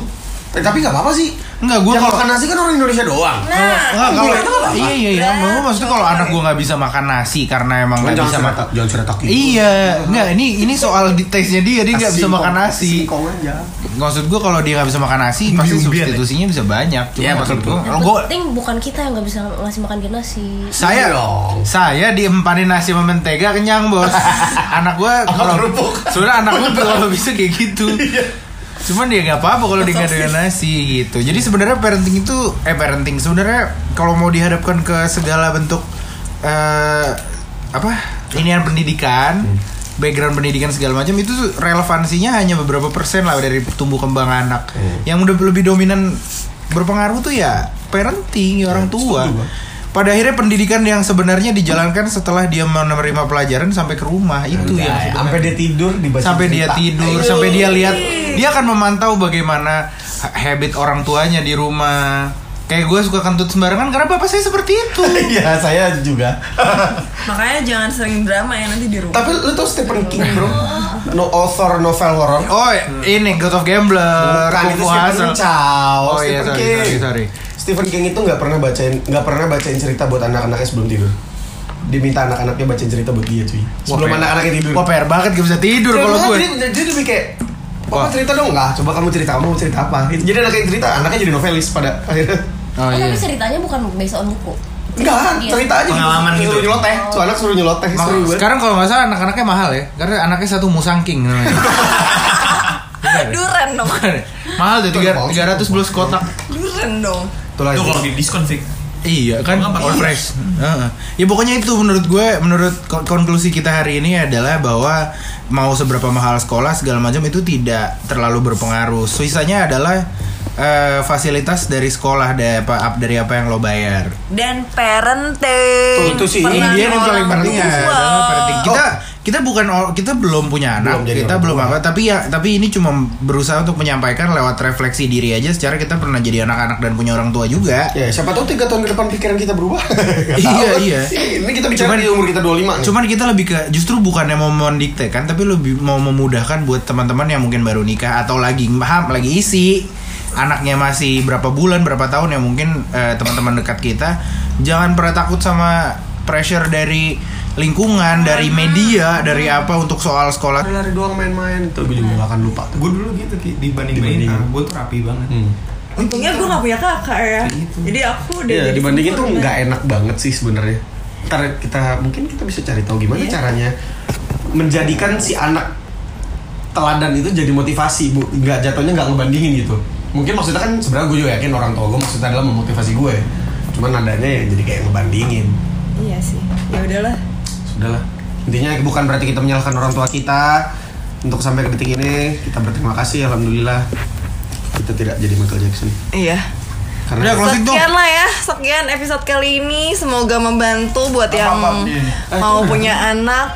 Eh, tapi gak apa-apa sih.
Enggak,
Yang
gua Oh, kalau-
makan nasi kan orang Indonesia doang.
Nah,
Enggak, kalau
Gila, itu nggak apa-apa.
iya iya iya,
Nah,
gue maksudnya kalau anak gue nggak bisa makan nasi karena
Cuman
emang nggak
jangan
bisa
cerita,
makan.
jangan cerita kaki.
Iya, enggak ini ini soal di taste-nya dia dia nggak bisa
Singkong.
makan nasi.
Singkong aja.
Maksud gue kalau dia nggak bisa makan nasi pasti
Umbi-umbian ya?
substitusinya bisa banyak. Cuma
Iya,
maksud
betul.
gue,
yang
gue
penting bukan kita yang nggak bisa ngasih makan kita nasi
saya
Iya dong.
saya diempanin nasi sama mentega kenyang bos. anak gue kalau
kerupuk.
sebenarnya anak gue kalau bisa kayak gitu. Cuman dia nggak apa-apa kalau dia nggak dengan nasi gitu. Jadi sebenarnya parenting itu eh parenting sebenarnya kalau mau dihadapkan ke segala bentuk eh apa inian pendidikan, background pendidikan segala macam itu tuh relevansinya hanya beberapa persen lah dari tumbuh kembang anak. Yang udah lebih dominan berpengaruh tuh ya parenting ya orang tua. Pada akhirnya pendidikan yang sebenarnya dijalankan setelah dia menerima pelajaran sampai ke rumah itu
Ya,
yang
Iya,
sebenarnya
sampai dia tidur dibaca
sampai dia
cerita.
tidur, sampai dia lihat dia akan memantau bagaimana ha- habit orang tuanya di rumah. Kayak gue suka kentut sembarangan karena bapak saya seperti itu.
Iya, saya juga.
makanya jangan sering drama ya nanti di rumah.
Tapi lu tau Stephen King, Bro? No author novel horror.
Oh, ini God of Gambler,
Bukan
Kung
itu
Fu
Stephen
Hustle.
Chow.
Oh
Stephen
iya, sorry,
King.
sorry, sorry.
Stephen King itu nggak pernah bacain nggak pernah bacain cerita buat anak-anaknya sebelum tidur. Dia minta anak-anaknya bacain cerita buat dia cuy. Sebelum
PR.
anak-anaknya tidur.
Wah, PR banget gak bisa tidur
Dia-
kalau gue.
dia, dia, dia lebih kayak Papa
Wah. Iya.
cerita dong lah, coba kamu cerita, kamu mau cerita apa? Itu- Jadi anaknya yang cerita, anaknya jadi novelis pada akhirnya kan
Oh
Oh,
iya.
tapi ceritanya bukan based on buku
Enggak,
Iya.
cerita aja
Pengalaman gitu.
Suruh nyeloteh, tuh anak suruh nyeloteh
Mak-
Seru ya. banget
sekarang kalau nggak salah anak-anaknya mahal ya, karena anaknya satu musangking namanya. Bukan ya?
Duren dong,
mahal tuh
Itu
tiga
ada
tiga ratus belas kotak.
duren dong.
Tuh lah
Itu
itu.
kalau di diskon Fik.
Iya kan
Emang pakai
all fresh. Heeh. Ya pokoknya itu menurut gue menurut ko- konklusi kita hari ini adalah bahwa mau seberapa mahal sekolah segala macam itu tidak terlalu berpengaruh. Sisanya adalah eh, fasilitas dari sekolah dari apa dari apa yang lo bayar.
Dan parenting.
Oh,
Tuh, itu sih, ini
Peran
dia yang
orang
paling penting
tua.
Iya, adalah parenting. Kita kita bukan or- kita belum punya anak,
Belum jadi
kita
orang
belum
tua.
apa, tapi ya tapi ini cuma berusaha untuk menyampaikan lewat refleksi diri aja secara kita pernah jadi anak-anak dan punya orang tua juga.
Ya, siapa tahu 3 tahun ke depan pikiran kita berubah. Nggak
Iya,
tahu. kan?
iya.
Ini kita bicara
Cuman-
di umur kita 25 nih.
Iya, Cuman kita lebih ke justru bukannya mau mendikte kan, tapi lebih mau memudahkan buat teman-teman yang mungkin baru nikah atau lagi paham, lagi isi anaknya masih berapa bulan, berapa tahun ya mungkin eh, teman-teman dekat kita jangan pernah takut sama pressure dari lingkungan, dari media, dari apa untuk soal sekolah.
lari doang main-main tuh gue juga nggak akan lupa tuh
Gue dulu gitu Ki, dibanding-bandingin.
Dibandingin.
Gue tuh rapi banget.
Hmm.
Untungnya gue gak punya kakak
Iya,
ya. Jadi aku udah.
Iya,
jadi
dibandingin tuh
sempurna.
nggak enak banget sih sebenarnya ntar kita mungkin kita bisa cari tahu gimana caranya menjadikan si anak teladan itu jadi motivasi bu nggak jatuhnya nggak ngebandingin gitu mungkin maksudnya kan sebenarnya gue juga yakin orang tua gue maksudnya adalah memotivasi gue cuman nadanya ya jadi kayak ngebandingin
Iya sih. Ya udahlah.
sudahlah intinya bukan berarti kita menyalahkan orang tua kita untuk sampai ke detik ini kita berterima kasih alhamdulillah kita tidak jadi Michael Jackson
Iya.
karena
Udah, Closing dong.
Sekian lah ya, sekian episode kali ini. Semoga membantu buat yang
iya, Eh,
mau punya anak.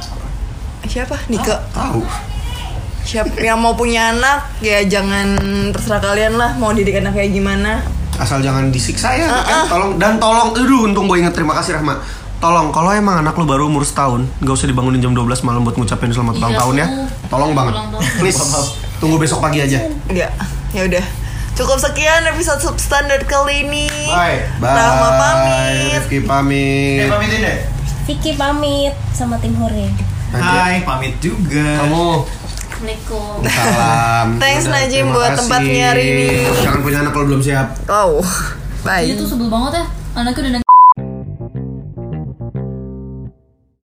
Siapa? Nike.
tahu
Siapa yang mau punya anak ya jangan terserah kalian lah mau didik anak kayak gimana.
asal jangan disiksa ya
Ah,
kan? tolong dan tolong aduh untung gue inget terima kasih Rahma tolong kalau emang anak lu baru umur setahun gak usah dibangunin jam 12 malam buat ngucapin selamat ulang
Iya,
tahun ya
tuh.
tolong banget
Ulang tahun.
please tunggu besok pagi aja
Ya, ya udah. Cukup sekian episode substandard kali ini.
bye
Rahma pamit.
Rifki pamit
pamitin deh.
Vicky pamit sama tim Hore
ya.
Hai, pamit juga.
Kamu
Assalamualaikum.
salam.
Thanks,
Udah,
Najim,
terima
buat
kasih.
tempatnya hari ini.
Sekarang punya anak kalau belum siap.
Wow,
Iya
bye.
tuh sebel banget ya. Anaknya udah